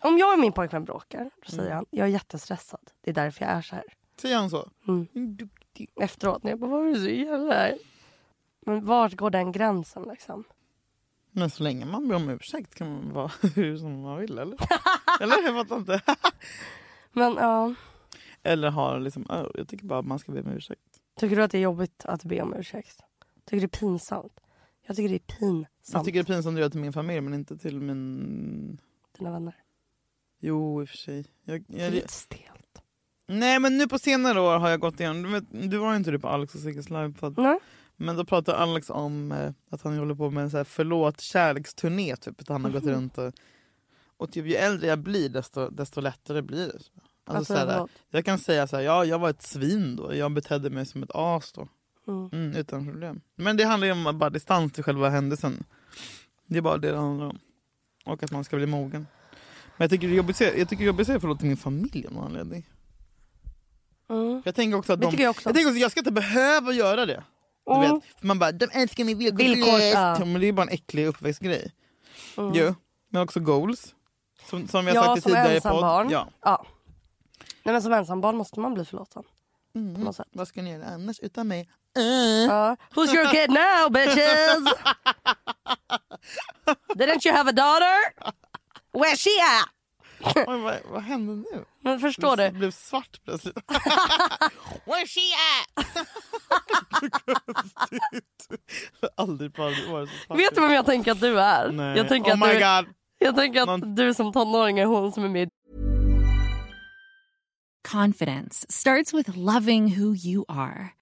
Speaker 5: Om jag och min pojkvän bråkar, då säger han jag är jättestressad. Det är därför jag är så här.
Speaker 3: Säger han så?
Speaker 5: Mm. Efteråt när jag bara, vad är det så jävla här?" Men vart går den gränsen liksom?
Speaker 3: Men så länge man ber om ursäkt kan man vara [LAUGHS] hur som man vill eller? eller jag fattar inte.
Speaker 5: Men ja,
Speaker 3: Eller har liksom, "Åh, jag tycker bara att man ska be om ursäkt.
Speaker 5: tycker du att det är jobbigt att be om ursäkt? Tycker du det är pinsamt? Jag tycker det är
Speaker 3: Jag
Speaker 5: pinsamt.
Speaker 3: tycker det är pinsamt att göra till min familj men inte till min...
Speaker 5: Dina vänner.
Speaker 3: Jo i och för sig. Jag,
Speaker 5: Det är
Speaker 3: jag...
Speaker 5: lite stelt.
Speaker 3: Nej men nu på senare år har jag gått igenom, du, vet, du var ju inte du på Alex och Sigges livepodd.
Speaker 5: Nej.
Speaker 3: Men då pratade Alex om eh, att han håller på med en så här förlåt kärleksturné typ. Att han har gått
Speaker 5: Mhm.
Speaker 3: runt och, och typ, ju äldre jag blir desto, desto lättare blir det. Alltså,
Speaker 5: Alltså,
Speaker 3: så här,
Speaker 5: förlåt.
Speaker 3: jag kan säga så här, ja jag var ett svin då, jag betedde mig som ett as då.
Speaker 5: Mm.
Speaker 3: Mm, utan problem. Men det handlar ju om bara distans till själva händelsen. Det är bara det det handlar om. Och att man ska bli mogen. Men jag tycker det är jobbigt att säga, jag tycker det är jobbigt att säga förlåt till min familj av någon anledning.
Speaker 5: Mm.
Speaker 3: Jag tänker också att
Speaker 5: Det
Speaker 3: de,
Speaker 5: tycker jag också.
Speaker 3: tänker också, jag ska inte behöva göra det. Du
Speaker 5: Mm.
Speaker 3: vet, för man bara, de älskar mig
Speaker 5: Villkors,
Speaker 3: villkorslöst.
Speaker 5: ja.
Speaker 3: Ja. Men det är ju bara en äcklig uppväxtgrej.
Speaker 5: Mm.
Speaker 3: Jo, men också goals. Som, som vi har
Speaker 5: ja,
Speaker 3: sagt i
Speaker 5: som
Speaker 3: tidigare
Speaker 5: ensam
Speaker 3: podd.
Speaker 5: barn.
Speaker 3: Ja.
Speaker 5: Nej, men som ensambarn måste man bli förlåten.
Speaker 3: Mm.
Speaker 5: På något sätt.
Speaker 3: Vad ska ni göra annars utan
Speaker 5: [LAUGHS]
Speaker 3: mig? Ah,
Speaker 5: Ja. Who's your kid now
Speaker 3: [LAUGHS]
Speaker 5: bitches? Didn't you have a daughter? Where's she at?
Speaker 3: Oj, vad, vad hände nu?
Speaker 5: Men förstår
Speaker 3: det
Speaker 5: du?
Speaker 3: blev svart
Speaker 5: [LAUGHS]
Speaker 3: plötsligt.
Speaker 9: Where's she at?
Speaker 3: Jag har [LAUGHS] Aldrig på aldrig varit så svart.
Speaker 5: Vet du vem jag tänker att du är?
Speaker 3: Nej.
Speaker 5: Jag tänker
Speaker 3: Oh
Speaker 5: att
Speaker 3: my
Speaker 5: du,
Speaker 3: God.
Speaker 5: Jag tänker att du som tonåring är hon som är med i
Speaker 10: Confidence starts with loving who you are.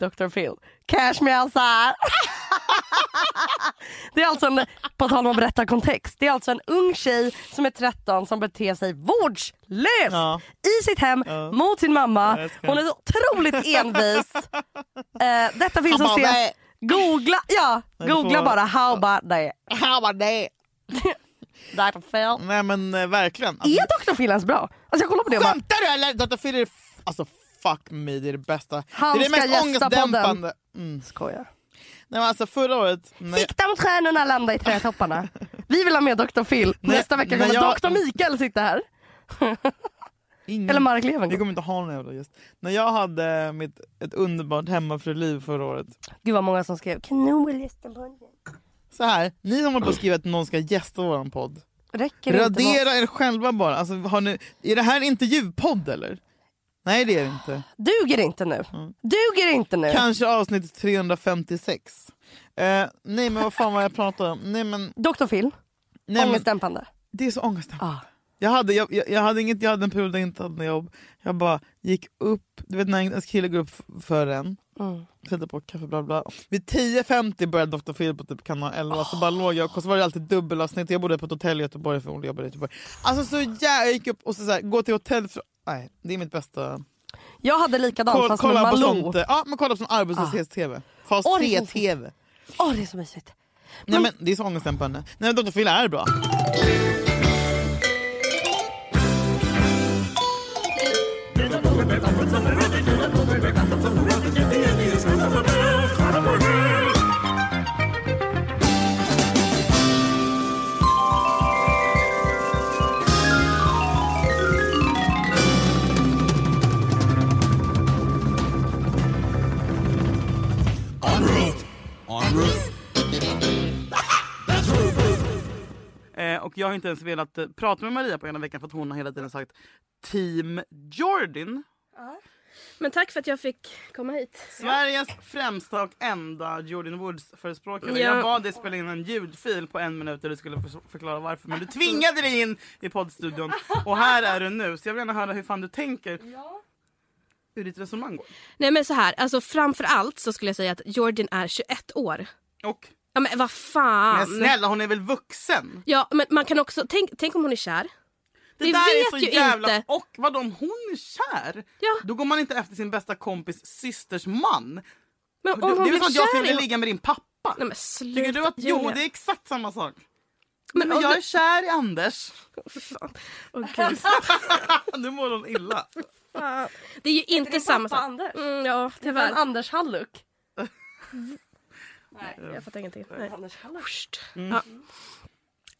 Speaker 5: Dr. Phil. Cash me outside. [LAUGHS] Det är alltså en, på tal om att berätta kontext, det är alltså en ung tjej som är 13 som beter sig vårdslöst i sitt hem mot sin mamma. Hon är så
Speaker 3: [LAUGHS]
Speaker 5: otroligt envis. Eh, detta finns
Speaker 9: Han
Speaker 5: att
Speaker 9: bara,
Speaker 5: se.
Speaker 9: "Nej."
Speaker 5: Googla, ja,
Speaker 3: Nej, du får-
Speaker 5: googla bara how about that.
Speaker 9: How about that?
Speaker 5: Dr. Phil.
Speaker 3: Nej men eh, verkligen.
Speaker 5: Är Dr. Phil ens bra? Alltså jag kollar på det och bara,
Speaker 3: Skämtar du eller? Dr. Phil är f- alltså fuck me, det är det bästa.
Speaker 5: Han
Speaker 3: det är det
Speaker 5: ska
Speaker 3: mest
Speaker 5: gästa
Speaker 3: ångestdämpande. Mm.
Speaker 5: Skojar.
Speaker 3: Nej men alltså förra året. när jag-
Speaker 5: sikta mot stjärnorna, landa
Speaker 3: [LAUGHS]
Speaker 5: i trädtopparna. Vi vill ha med Dr. Phil.
Speaker 3: Nej,
Speaker 5: Nästa vecka
Speaker 3: men
Speaker 5: kommer
Speaker 3: jag-
Speaker 5: Dr. Mikael sitta här.
Speaker 3: Ingen,
Speaker 5: Eller Mark Levengood.
Speaker 3: Vi kommer inte ha någon jävla gäst. När jag hade mitt, ett underbart hemmafruliv förra året.
Speaker 5: Gud vad många som skrev kanonlyssnarpodden.
Speaker 3: Så här, ni som håller på att skriva att någon ska gästa våran podd.
Speaker 5: Räcker det inte med
Speaker 3: Radera er själva bara. Alltså, har ni, är det här en intervjupodd eller? Nej det är det inte.
Speaker 5: Duger inte nu.
Speaker 3: Mm.
Speaker 5: Duger inte nu.
Speaker 3: Kanske avsnitt 356. Eh, nej men vad fan var jag pratade om? Nej men...
Speaker 5: Dr Phil.
Speaker 3: Nej, men,
Speaker 5: Ångestdämpande. Ah.
Speaker 3: det är så ångestdämpande. Jag, hade, jag, jag, jag, hade inget, jag hade en period där jag inte hade något jobb. Jag bara gick upp, du vet när ens kille går upp f- för en.
Speaker 5: Mm.
Speaker 3: Sätter på kaffe bla bla. Vid 10.50 började Dr. Phil på typ kanal 11 så bara låg jag och så var det alltid dubbelavsnitt. Jag bodde på ett hotell i Göteborg för hon jobbade i Göteborg. Alltså så jä- jag gick upp och så, så här, gå till hotell för... Nej, det är mitt bästa.
Speaker 5: Jag hade likadant
Speaker 3: Koll-
Speaker 5: fast med
Speaker 3: kolla på
Speaker 5: Malou.
Speaker 3: sånt. eh, Ja, men kolla på sån arbetslöshets-tv. Fas
Speaker 5: Åh, det är så
Speaker 3: 3-tv.
Speaker 5: Åh det är så mysigt.
Speaker 3: Nej men det är så ångestdämpande. Nej men Dr. Phil är bra. Eh, och jag har inte ens velat eh, prata med Maria på ena veckan för att hon har hela tiden sagt Team Jordan.
Speaker 7: Men tack för att jag fick komma hit.
Speaker 3: Sveriges främsta och enda Jordan Woods-förespråkare.
Speaker 7: Ja.
Speaker 3: Jag bad dig spela in en ljudfil på en minut där du skulle förs- förklara varför.
Speaker 7: [LAUGHS]
Speaker 3: Men du tvingade dig in i poddstudion. Och här är du nu. Så jag vill gärna höra hur fan du tänker. Hur ditt resonemang går.
Speaker 7: Nej men så här, alltså framför allt så skulle jag säga att Jordan är 21 år.
Speaker 3: Och?
Speaker 7: Ja men vad fan.
Speaker 3: Men snälla hon är väl vuxen?
Speaker 7: Ja men man kan också, tänk, tänk om hon är kär.
Speaker 3: Det
Speaker 7: Vi
Speaker 3: där är
Speaker 7: vet
Speaker 3: så
Speaker 7: ju
Speaker 3: jävla...
Speaker 7: inte.
Speaker 3: Och vadå om hon är kär? Då går man inte efter sin bästa kompis systers man.
Speaker 7: Men
Speaker 3: För
Speaker 7: om
Speaker 3: det-
Speaker 7: hon
Speaker 3: det är
Speaker 7: blir
Speaker 3: som att jag
Speaker 7: kär
Speaker 3: skulle
Speaker 7: i-
Speaker 3: vilja ligga med din pappa.
Speaker 7: Nej, men
Speaker 3: Tycker du att... Jo,
Speaker 7: Julia.
Speaker 3: det är exakt samma sak.
Speaker 7: Men
Speaker 3: Men,
Speaker 7: om
Speaker 3: jag
Speaker 7: du-
Speaker 3: är kär i Anders.
Speaker 7: För fan.
Speaker 3: [LAUGHS]
Speaker 7: Åh, gud.
Speaker 3: nu mår hon illa.
Speaker 7: Det är ju inte
Speaker 5: din
Speaker 7: samma
Speaker 5: pappa
Speaker 7: sak.
Speaker 5: Anders?
Speaker 7: Mm, ja
Speaker 5: Tyvärr.
Speaker 7: tyvärr.
Speaker 5: Anders Halluk.
Speaker 7: Nej, jag fattar ingenting. Nej.
Speaker 5: Anders Halluk.
Speaker 7: Ja.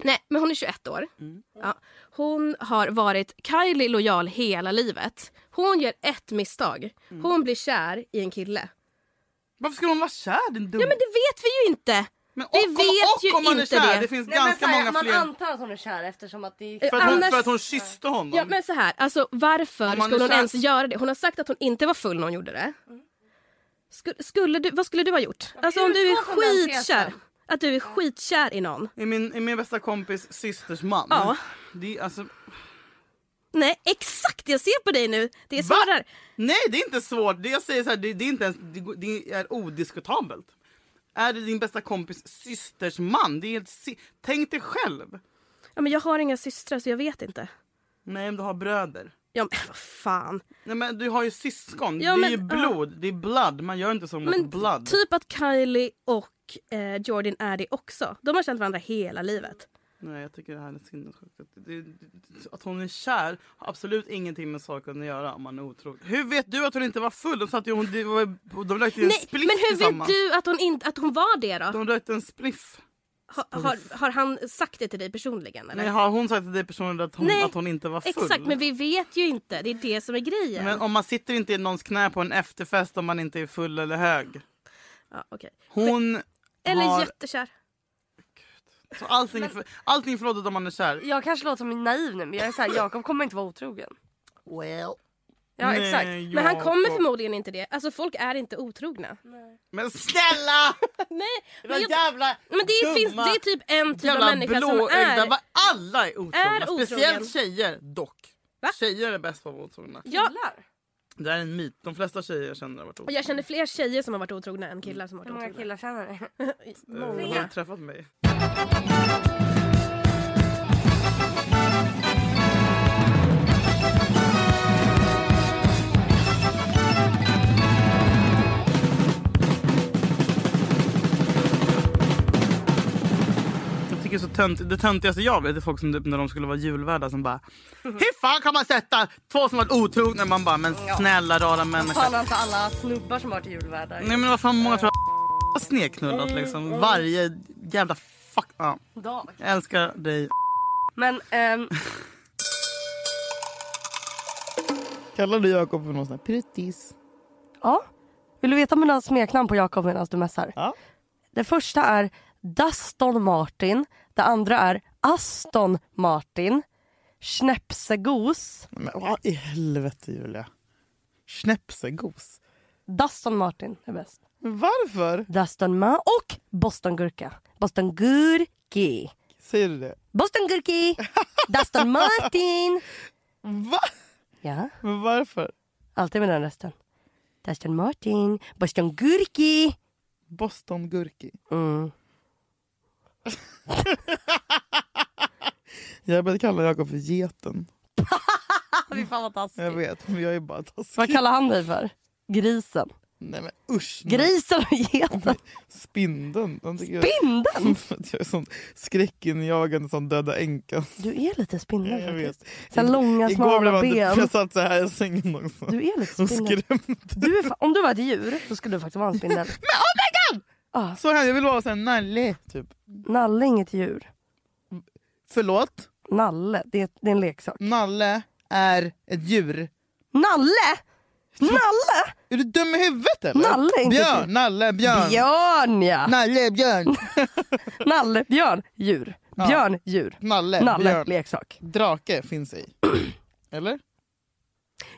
Speaker 7: Nej, men hon är 21 år.
Speaker 3: Mm.
Speaker 7: Ja. Hon har varit Kylie lojal hela livet. Hon gör ett misstag.
Speaker 3: Mm.
Speaker 7: Hon blir kär i en kille.
Speaker 3: Varför skulle hon vara kär din dum...
Speaker 7: Ja, men det vet vi ju inte!
Speaker 3: Men
Speaker 7: vi
Speaker 3: och om- och om man är kär, det finns-
Speaker 5: men
Speaker 3: Ganska
Speaker 5: så här,
Speaker 3: många
Speaker 5: man
Speaker 3: fler.
Speaker 5: antar att hon är kär eftersom att det är...
Speaker 7: Eh,
Speaker 3: För att, hon,
Speaker 7: Annars-
Speaker 3: för att hon kysste honom.
Speaker 7: Ja, men så här, alltså, varför
Speaker 3: Om man
Speaker 7: skulle
Speaker 3: är
Speaker 7: hon
Speaker 3: kär-
Speaker 7: ens göra det? Hon har sagt att hon inte var full när hon gjorde det. Sku- Skulle du, vad skulle du ha gjort? Alltså om du är
Speaker 5: utgår från den tesen.
Speaker 7: skitkär. Att du är skitkär i någon.
Speaker 3: I, min, I min bästa kompis systers man.
Speaker 7: Ja.
Speaker 3: Det är alltså...
Speaker 7: Nej, exakt! Jag ser på dig nu. Det är svårare.
Speaker 3: Nej, det är inte svårt. Det jag säger så här, det, det, är inte ens, det, går- det är odiskutabelt. Är det din bästa kompis systers man? Det är helt si- Tänk dig själv.
Speaker 7: Ja, men jag har inga systrar så jag vet inte.
Speaker 3: Nej, men du har bröder.
Speaker 7: Ja men vad fan.
Speaker 3: Nej, men du har ju syskon,
Speaker 7: Ja,
Speaker 3: det
Speaker 7: men-
Speaker 3: är ju blod, det är blood. Man gör inte så mot
Speaker 7: Men
Speaker 3: blood.
Speaker 7: typ att Kylie och eh, Jordan är det också. De har känt varandra hela livet.
Speaker 3: Nej, jag tycker det här är sinnessjukt. Att, det- det- att hon är kär har absolut ingenting med saken att göra om man är otrogen. Hur vet du att hon inte var full? De satt ju hon, de, var- de rökte ju en
Speaker 7: Nej, men
Speaker 3: spliff
Speaker 7: hur vet
Speaker 3: tillsammans.
Speaker 7: du att hon, inte, att hon var det då?
Speaker 3: De rökte en spliff.
Speaker 7: Ha, har, har han sagt det till dig personligen? Eller?
Speaker 3: Nej, har hon sagt till dig personligen att hon,
Speaker 7: Nej,
Speaker 3: att hon inte var full?
Speaker 7: Exakt, men vi vet ju inte. Det är det som är grejen.
Speaker 3: Men om man sitter inte i någons knä på en efterfest om man inte är full eller hög.
Speaker 7: Ja, okej.
Speaker 3: Hon
Speaker 7: Eller
Speaker 3: har...
Speaker 7: jättekär.
Speaker 3: Så allting, är för, allting är förlåtet om man är kär.
Speaker 5: Jag kanske låter som naiv nu men jag är såhär, Jakob kommer inte vara otrogen.
Speaker 3: Well.
Speaker 5: Ja
Speaker 3: Nej,
Speaker 5: exakt.
Speaker 7: Men han
Speaker 3: Jakob.
Speaker 7: kommer förmodligen inte det. Alltså folk är inte otrogna.
Speaker 3: Men snälla!
Speaker 7: [LAUGHS] Nej,
Speaker 3: Det
Speaker 7: men
Speaker 3: var
Speaker 7: jag-
Speaker 3: jävla
Speaker 7: men det, är-
Speaker 3: dumma,
Speaker 7: finns, det är typ en typ av
Speaker 3: jävla
Speaker 7: människa som
Speaker 3: blåögda.
Speaker 7: är...
Speaker 3: Va- Alla är otrogna.
Speaker 7: är otrogen.
Speaker 3: Speciellt tjejer dock. Tjejer är bäst på att vara otrogna.
Speaker 7: Ja,
Speaker 3: Det här är en myt. De flesta tjejer jag känner har varit
Speaker 7: och
Speaker 3: otrogna.
Speaker 7: jag känner fler tjejer som har varit otrogna än killar som har varit
Speaker 5: Hur
Speaker 7: otrogna.
Speaker 5: många killar känner
Speaker 7: du?
Speaker 3: Eh, Har du träffat mig? Jag tycker det är så tönt, det töntigaste jag vet är folk som typ när de skulle vara julvärdar som bara Hur fan kan man sätta två som varit otrogna? Man bara men
Speaker 5: Ja.
Speaker 3: snälla rara människa.
Speaker 5: Fan har inte alla snubbar som har varit julvärdar.
Speaker 3: Nej men vad fan många tror jag har snedknullat liksom. Varje jävla fuck. Ja.
Speaker 5: Dag.
Speaker 3: Jag älskar dig.
Speaker 5: Men ehm,
Speaker 3: Kallar du Jakob för någon sån här pruttis?
Speaker 5: [LAUGHS] ja. Vill du veta mina smeknamn på Jakob medan du messar?
Speaker 3: Ja.
Speaker 5: Det första är Daston Martin. Det andra är Aston Martin. Schnäpsegos.
Speaker 3: Men vad i helvete Julia? Schnäpsegos?
Speaker 5: Daston Martin är bäst.
Speaker 3: Varför?
Speaker 5: Daston Ma och Boston Gurka. Boston Gurki.
Speaker 3: Säger du det?
Speaker 5: Boston Gurki. Daston Martin.
Speaker 3: Va?
Speaker 5: Ja.
Speaker 3: Men varför?
Speaker 5: Alltid med den rösten. Daston Martin. Boston Gurki.
Speaker 3: Boston Gurki.
Speaker 5: Mm.
Speaker 3: Jag började kalla Jakob för geten. [LAUGHS]
Speaker 5: Fy fan vad taskigt.
Speaker 3: Jag vet, men jag är bara taskig.
Speaker 5: Vad kallar han dig för? Grisen.
Speaker 3: Nej men usch.
Speaker 5: Grisen och
Speaker 3: [LAUGHS]
Speaker 5: geten.
Speaker 3: Spindeln. Han tycker jag-
Speaker 5: Spindeln?
Speaker 3: För att [LAUGHS] jag är sån skräckinjagande som döda änkan.
Speaker 5: Du är lite spindel
Speaker 3: Jag vet.
Speaker 5: faktiskt. Så här långa smala
Speaker 3: blev han-
Speaker 5: ben.
Speaker 3: Jag satt så här i sängen också.
Speaker 5: Du är
Speaker 3: [LAUGHS]
Speaker 5: lite
Speaker 3: Och
Speaker 5: spindel. Du är, fa- om du var ett djur då skulle du faktiskt vara
Speaker 3: [LAUGHS]
Speaker 5: en spindel. Ah.
Speaker 3: Så här, jag vill vara en nalle. Typ.
Speaker 5: Nalle är inget djur.
Speaker 3: Förlåt?
Speaker 5: Nalle, det är, det är en leksak.
Speaker 3: Nalle är ett djur.
Speaker 5: Nalle! Nalle!
Speaker 3: Är du dum i huvudet eller?
Speaker 5: Nalle är inte ett
Speaker 3: björn,
Speaker 5: djur.
Speaker 3: nalle, björn.
Speaker 5: Björn ja!
Speaker 3: Nalle,
Speaker 5: [LAUGHS]
Speaker 3: björn.
Speaker 5: Nalle, björn, djur.
Speaker 3: Ja.
Speaker 5: Björn, djur.
Speaker 3: Nalle,
Speaker 5: Nalle,
Speaker 3: björn.
Speaker 5: leksak.
Speaker 3: Drake finns i. Eller?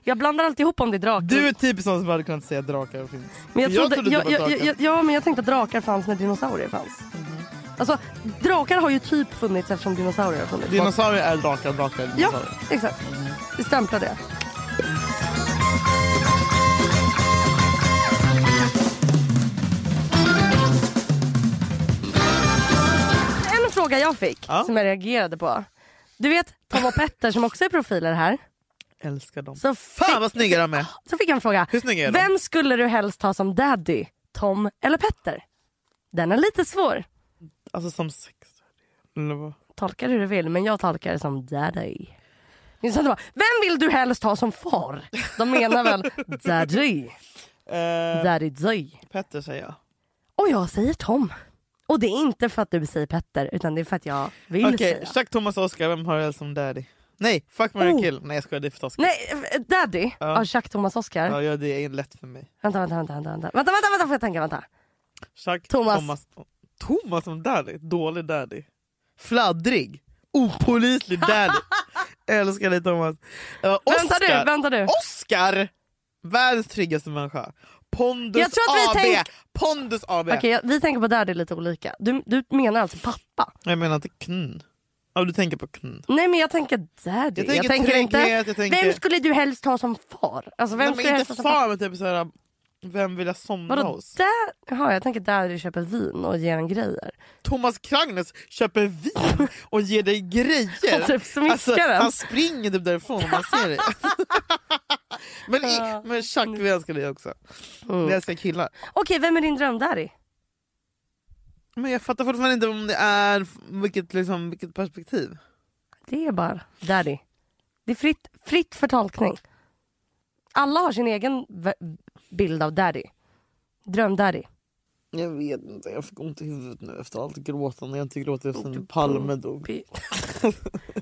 Speaker 5: Jag blandar alltid ihop om det är drakar.
Speaker 3: Du är typ sån som hade kunnat säga drakar finns.
Speaker 5: Men jag
Speaker 3: För
Speaker 5: trodde,
Speaker 3: det
Speaker 5: jag,
Speaker 3: var
Speaker 5: jag,
Speaker 3: drakar. Mhm.
Speaker 5: jag, ja, men jag tänkte att drakar fanns när dinosaurier fanns. Alltså, drakar har ju typ funnits eftersom dinosaurier har funnits.
Speaker 3: Dinosaurier är drakar, drakar är
Speaker 5: Ja,
Speaker 3: dinosaurier.
Speaker 5: exakt. Vi stämplar det. En fråga jag fick som jag reagerade på. Du vet Tom och Petter som också är profiler här.
Speaker 3: Älskar dem.
Speaker 5: Så
Speaker 3: Fan vad snygga de
Speaker 5: [LAUGHS]
Speaker 3: är.
Speaker 5: Så fick jag en fråga.
Speaker 3: Hur snygga är de?
Speaker 5: Vem skulle du helst ha som daddy? Tom eller Petter? Den är lite svår.
Speaker 3: Alltså som sex. Eller vad?
Speaker 5: Tolka det hur du vill, men jag tolkar det som daddy. Det är sant, det var, Vem vill du helst ha som far? De
Speaker 3: [LAUGHS]
Speaker 5: menar väl daddy?
Speaker 3: Eh,
Speaker 5: Daddy Zoy.
Speaker 3: Petter säger jag.
Speaker 5: Och jag säger Tom. Och det är inte för att du säger Petter, utan det är för att jag Oh. vill
Speaker 3: Okej,
Speaker 5: säga.
Speaker 3: Chuck, Thomas och Oscar, vem har du helst som daddy? Nej, fuck, marry, kill. Nej jag skojar, det är för taskigt.
Speaker 5: Nej, eh, daddy
Speaker 3: Ja.
Speaker 5: av Chuck Thomas Oscar.
Speaker 3: Ja, ja, det är lätt för mig.
Speaker 5: Vänta, vänta, vänta, vänta, vänta, vänta, vänta, vänta, får jag tänka, vänta.
Speaker 3: Chuck,
Speaker 5: Thomas.
Speaker 3: Thomas. Thomas som daddy? Dålig daddy. Fladdrig. Opålitlig
Speaker 5: [LAUGHS]
Speaker 3: daddy. Älskar dig Thomas. Uh,
Speaker 5: Vänta du, vänta du.
Speaker 3: Oscar! Världens tryggaste människa. Pondus
Speaker 5: Jag tror att vi
Speaker 3: AB.
Speaker 5: tänk-
Speaker 3: Pondus AB.
Speaker 5: Okej, jag- vi tänker på daddy lite olika. Du, du menar alltså pappa?
Speaker 3: Jag menar inte knn. Ja, du tänker på knn.
Speaker 5: Nej men jag tänker daddy.
Speaker 3: Jag tänker trygghet, jag tänker-
Speaker 5: Vem skulle du helst ha som far? Alltså, vem
Speaker 3: Nej,
Speaker 5: skulle
Speaker 3: men
Speaker 5: du
Speaker 3: inte
Speaker 5: helst ha som pappa?
Speaker 3: far men typ såhär Vem vill jag somna
Speaker 5: Vadå
Speaker 3: hos?
Speaker 5: där? Jaha, jag tänker där du köper vin och ger en grejer.
Speaker 3: Thomas Kragnes köper vin och ger dig grejer.
Speaker 5: [LAUGHS] Och typ smiskar
Speaker 3: alltså,
Speaker 5: den.
Speaker 3: han springer typ därifrån om han ser dig. [LAUGHS] men, i, men Chuck, vi älskar dig också.
Speaker 5: Mm.
Speaker 3: Vi älskar killar.
Speaker 5: Okej, vem är din drömdaddy?
Speaker 3: Men jag fattar fortfarande inte om det är vilket, liksom, vilket perspektiv.
Speaker 5: Det är bara daddy. Det är fritt, fritt för tolkning. Alla har sin egen v- bild av daddy. Drömdaddy.
Speaker 3: Jag vet inte, jag fick ont i huvudet nu efter allt gråtande. Jag har inte gråtit sen Palme dog.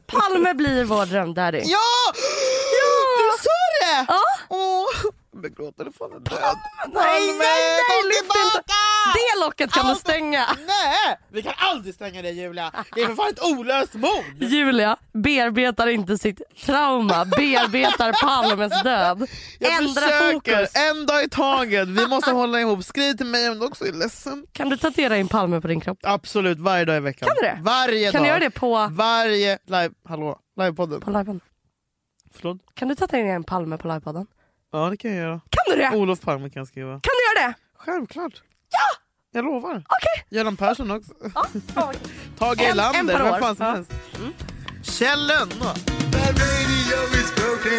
Speaker 5: Palme blir vår drömdaddy.
Speaker 3: Ja! [GASPS] Du sa det!
Speaker 5: Ja!
Speaker 3: Åh, jag börjar gråta, det får en död.
Speaker 5: Nej, nej, nej,
Speaker 3: kom
Speaker 5: lyft inte.
Speaker 3: tillbaka!
Speaker 5: Det locket kan du stänga.
Speaker 3: Nej, vi kan aldrig stänga det Julia. Det är för fan ett olöst mord.
Speaker 5: Julia bearbetar inte sitt trauma, bearbetar Palmes död.
Speaker 3: Jag
Speaker 5: Ändra
Speaker 3: försöker,
Speaker 5: fokus.
Speaker 3: en dag i taget. Vi [LAUGHS] måste hålla ihop. Skriv till mig om du också är ledsen.
Speaker 5: Kan du tatuera in Palme på din kropp?
Speaker 3: Absolut, varje dag i veckan.
Speaker 5: Kan du det?
Speaker 3: Varje
Speaker 5: Kan
Speaker 3: dag.
Speaker 5: du göra det på...
Speaker 3: Varje live... Hallå? Livepodden?
Speaker 5: På liven.
Speaker 3: Förlåt?
Speaker 5: Kan du tatuera in en Palme på livepodden?
Speaker 3: Ja, det kan jag göra.
Speaker 5: Kan du det?
Speaker 3: Olof Palme kan jag skriva.
Speaker 5: Kan du göra det?
Speaker 3: Ah. Självklart.
Speaker 5: Ja!
Speaker 3: Jag lovar.
Speaker 5: Okej.
Speaker 3: Göran Persson också.
Speaker 5: Ja,
Speaker 3: Tage
Speaker 5: En- en
Speaker 3: Erlander,
Speaker 5: per
Speaker 3: vem
Speaker 5: år.
Speaker 3: fan som
Speaker 5: Ja.
Speaker 3: helst. Kjell Lönnå.
Speaker 2: The radio is broken.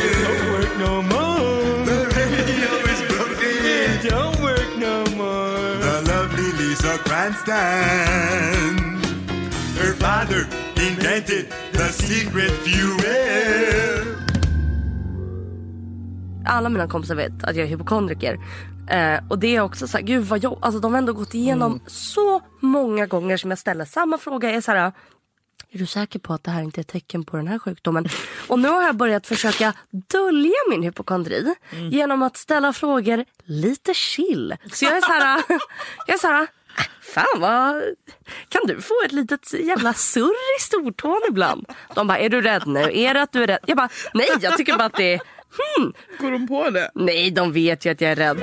Speaker 2: It don't work no more. The radio is broken. It don't work no more. The lovely Lisa Cranston. Her father invented the secret fuel.
Speaker 5: alla mina kompisar vet att jag är hypokondriker. Eh, och det är också så här, gud vad jobb, alltså de har ändå gått igenom så många gånger som jag ställer samma fråga. Jag är så här, är du säker på att det här inte är ett tecken på den här sjukdomen? Och nu har jag börjat försöka dölja min hypokondri genom att ställa frågor lite chill. Så jag är så här, jag är så här "Ah, fan vad, kan du få ett litet jävla surr i stortån ibland? De bara, är du rädd nu? Är det att du är rädd? Jag bara, nej jag tycker bara att det är, hmm.
Speaker 3: Går de på det?
Speaker 5: Nej, de vet ju att jag är rädd.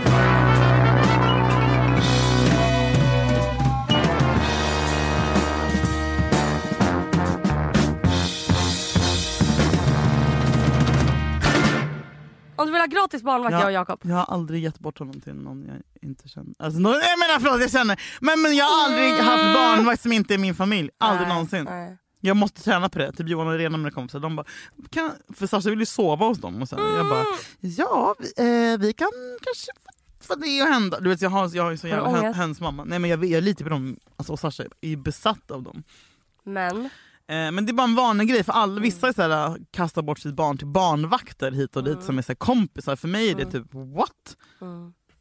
Speaker 5: Om du vill ha gratis barnvakt, jag och Jakob.
Speaker 3: jag har aldrig gett bort honom till någon jag inte känner. Alltså, någon, jag menar förlåt, jag känner. Men, men jag har
Speaker 5: Mm.
Speaker 3: aldrig haft barnvakt som inte är min familj. Aldrig någonsin. Jag måste träna på det. Typ Johan och Irena mina kompisar. De bara, kan, för Sasha vill ju sova hos dem. Och sen, Jag bara,
Speaker 5: Mm.
Speaker 3: ja vi, eh, vi kan kanske få- få det att hända. Du vet jag har, jag har ju så
Speaker 5: Har du
Speaker 3: jävla hen-
Speaker 5: ångest?
Speaker 3: hens mamma. Nej men jag, vet- jag litar på dem. Alltså, och Sasha är ju besatt av dem.
Speaker 5: Men,
Speaker 3: Eh, Men det är bara en vanlig grej för alla, vissa är så här, äh, kastar bort sitt barn till barnvakter hit och dit som är så här, kompisar. För mig är det typ what?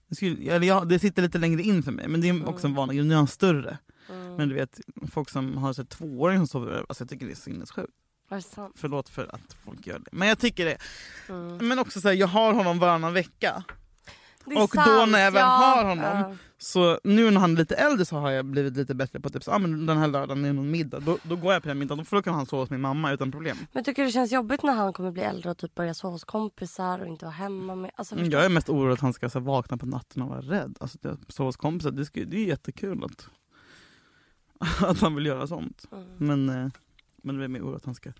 Speaker 3: Det, skulle, eller jag, det sitter lite längre in för mig men det är också en vanlig grej. Nu är han större. Men du vet folk som har så här, tvååringar som sover över, alltså, jag tycker det är sinnessjukt.
Speaker 5: var det sant?
Speaker 3: Förlåt för att folk gör det. Men jag tycker det. Men också så här, jag har honom varannan vecka.
Speaker 5: Det är
Speaker 3: och då
Speaker 5: sant,
Speaker 3: när jag väl
Speaker 5: ja,
Speaker 3: har honom,
Speaker 5: ja.
Speaker 3: så nu när han är lite äldre så har jag blivit lite bättre på typ, så, ah, men den här lördagen är någon middag. Då, då går jag på den middagen för då kan han sova hos min mamma utan problem.
Speaker 5: Men tycker du det känns jobbigt när han kommer bli äldre och typ börja sova hos kompisar och inte vara hemma med... Alltså,
Speaker 3: Mm,
Speaker 5: förstår
Speaker 3: Jag är mest orolig att han ska så, här, vakna på natten och vara rädd. Alltså, att jag sover hos kompisar, det, ska, det är jättekul att, [LAUGHS] att han vill göra sånt.
Speaker 5: Mm.
Speaker 3: Men, eh, men det är mer orolig att han ska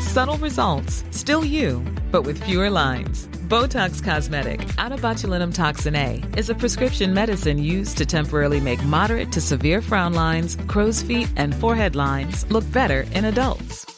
Speaker 11: Subtle results, still you, but with fewer lines. Botox Cosmetic, out of botulinum toxin A, is a prescription medicine used to temporarily make moderate to severe frown lines, crow's feet, and forehead lines look better in adults.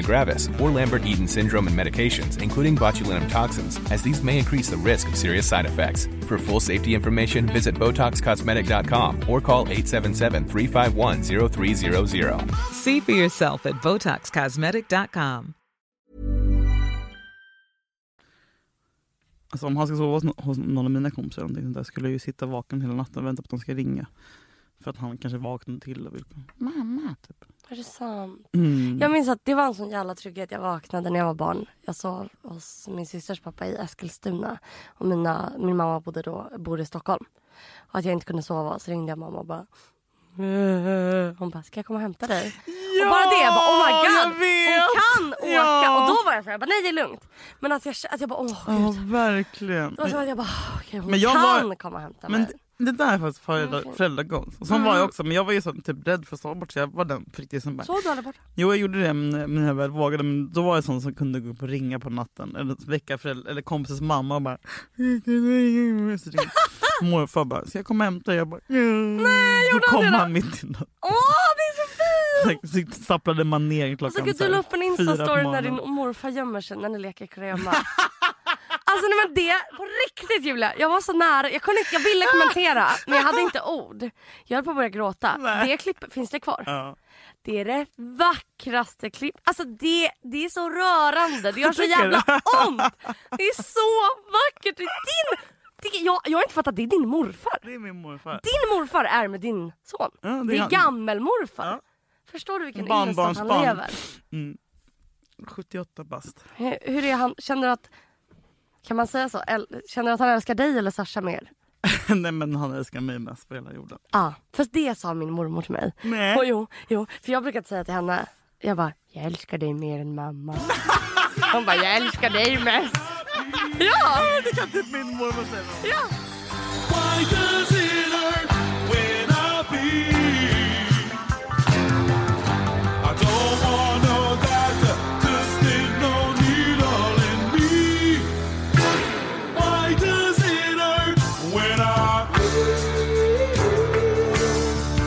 Speaker 12: gravis, or Lambert-Eaton syndrome and medications including botulinum toxins, as these may increase the risk of serious side effects. For full safety information, visit BotoxCosmetic.com or call 877-351-0300.
Speaker 11: See for yourself at BotoxCosmetic.com.
Speaker 3: Alltså om han ska sova hos, nå- hos någon av mina kompisar eller någonting sånt där skulle jag ju sitta vaken hela natten och vänta på att de ska ringa. För att han kanske vaknar till och vill Mamma, typ.
Speaker 5: du?
Speaker 7: Är det sant?
Speaker 12: Mm.
Speaker 7: Jag minns att det var en sån jävla trygghet. Jag vaknade när jag var barn. Jag sov hos min systers pappa i Eskilstuna. Och mina, min mamma bodde då, bodde i Stockholm. Och att jag inte kunde sova så ringde jag mamma och bara "Eh." hon bara, ska jag komma och hämta dig? och bara det, jag bara oh my
Speaker 12: jag
Speaker 7: god,
Speaker 12: vet.
Speaker 7: hon kan åka!
Speaker 12: Ja.
Speaker 7: Och då var jag så här, jag bara, nej det är lugnt. Men att jag, att jag bara, åh
Speaker 3: Ja, verkligen.
Speaker 5: Alltså,
Speaker 7: Det var som att jag bara, okej hon
Speaker 3: Men jag
Speaker 7: kan
Speaker 3: var-
Speaker 7: komma och hämta
Speaker 3: men
Speaker 7: mig.
Speaker 3: det- det där är faktiskt
Speaker 7: Mm,
Speaker 3: föräldra, föräldragång. Och så var jag också, men jag var ju så, typ rädd för att sova bort så jag var den på riktigt som bara...
Speaker 7: Sov du aldrig borta?
Speaker 3: Jo jag gjorde det men men jag väl vågade men då var jag sån som kunde gå upp och ringa på natten eller väcka föräldrar, eller kompisens mamma och bara Så ringde Morfar bara, ska jag komma och hämta dig? Jag bara, Nej,
Speaker 7: gjorde
Speaker 3: så
Speaker 7: han
Speaker 3: kom
Speaker 7: det då?
Speaker 3: han mitt i natten.
Speaker 7: Åh det är så fint!
Speaker 3: Så- Så stapplade man ner
Speaker 7: Och så
Speaker 3: klockan
Speaker 7: kan du
Speaker 3: här
Speaker 7: la upp en
Speaker 3: fyra på
Speaker 7: instastory när
Speaker 3: morgonen.
Speaker 7: din morfar gömmer sig när ni leker kurragömma. [LAUGHS] alltså nej men det, på riktigt Julia. Jag var så nära, jag, kunde inte, jag ville kommentera men jag hade inte ord. Jag höll på att börja gråta. Det klippet, finns det kvar?
Speaker 3: Ja.
Speaker 7: Det är det vackraste klipp. Alltså det, det är så rörande, det gör så
Speaker 12: Tycker du?
Speaker 7: jävla
Speaker 3: [LAUGHS]
Speaker 7: ont. Det är så vackert. Det är din, det, jag, jag har inte fattat, det är din morfar.
Speaker 3: Det är min morfar.
Speaker 7: Din morfar är med din son.
Speaker 3: det är
Speaker 7: det är,
Speaker 3: han.
Speaker 7: gammelmorfar. Förstår du vilken ynnest att han
Speaker 3: Barnbarnsbarn.
Speaker 7: lever?
Speaker 3: Mm. 78 bast. [LAUGHS]
Speaker 7: Hur, Eh, hur är han? Känner du att... Kan man säga så? Äl- Känner du att han älskar dig eller Sasha mer?
Speaker 3: Nej men han älskar mig mest på hela jorden.
Speaker 7: Ja, ah, fast det sa min mormor till mig.
Speaker 3: Nej.
Speaker 7: Och jo, jo, för jag brukar säga till henne, jag bara, jag älskar dig mer än mamma. Hon bara, jag älskar dig mest. Ja!
Speaker 3: Det kan typ min mormor säga.
Speaker 7: Ja!
Speaker 12: Why does it hurt when I bleed? I don't want no doctor to stick no needle in me. Why does it hurt when I bleed?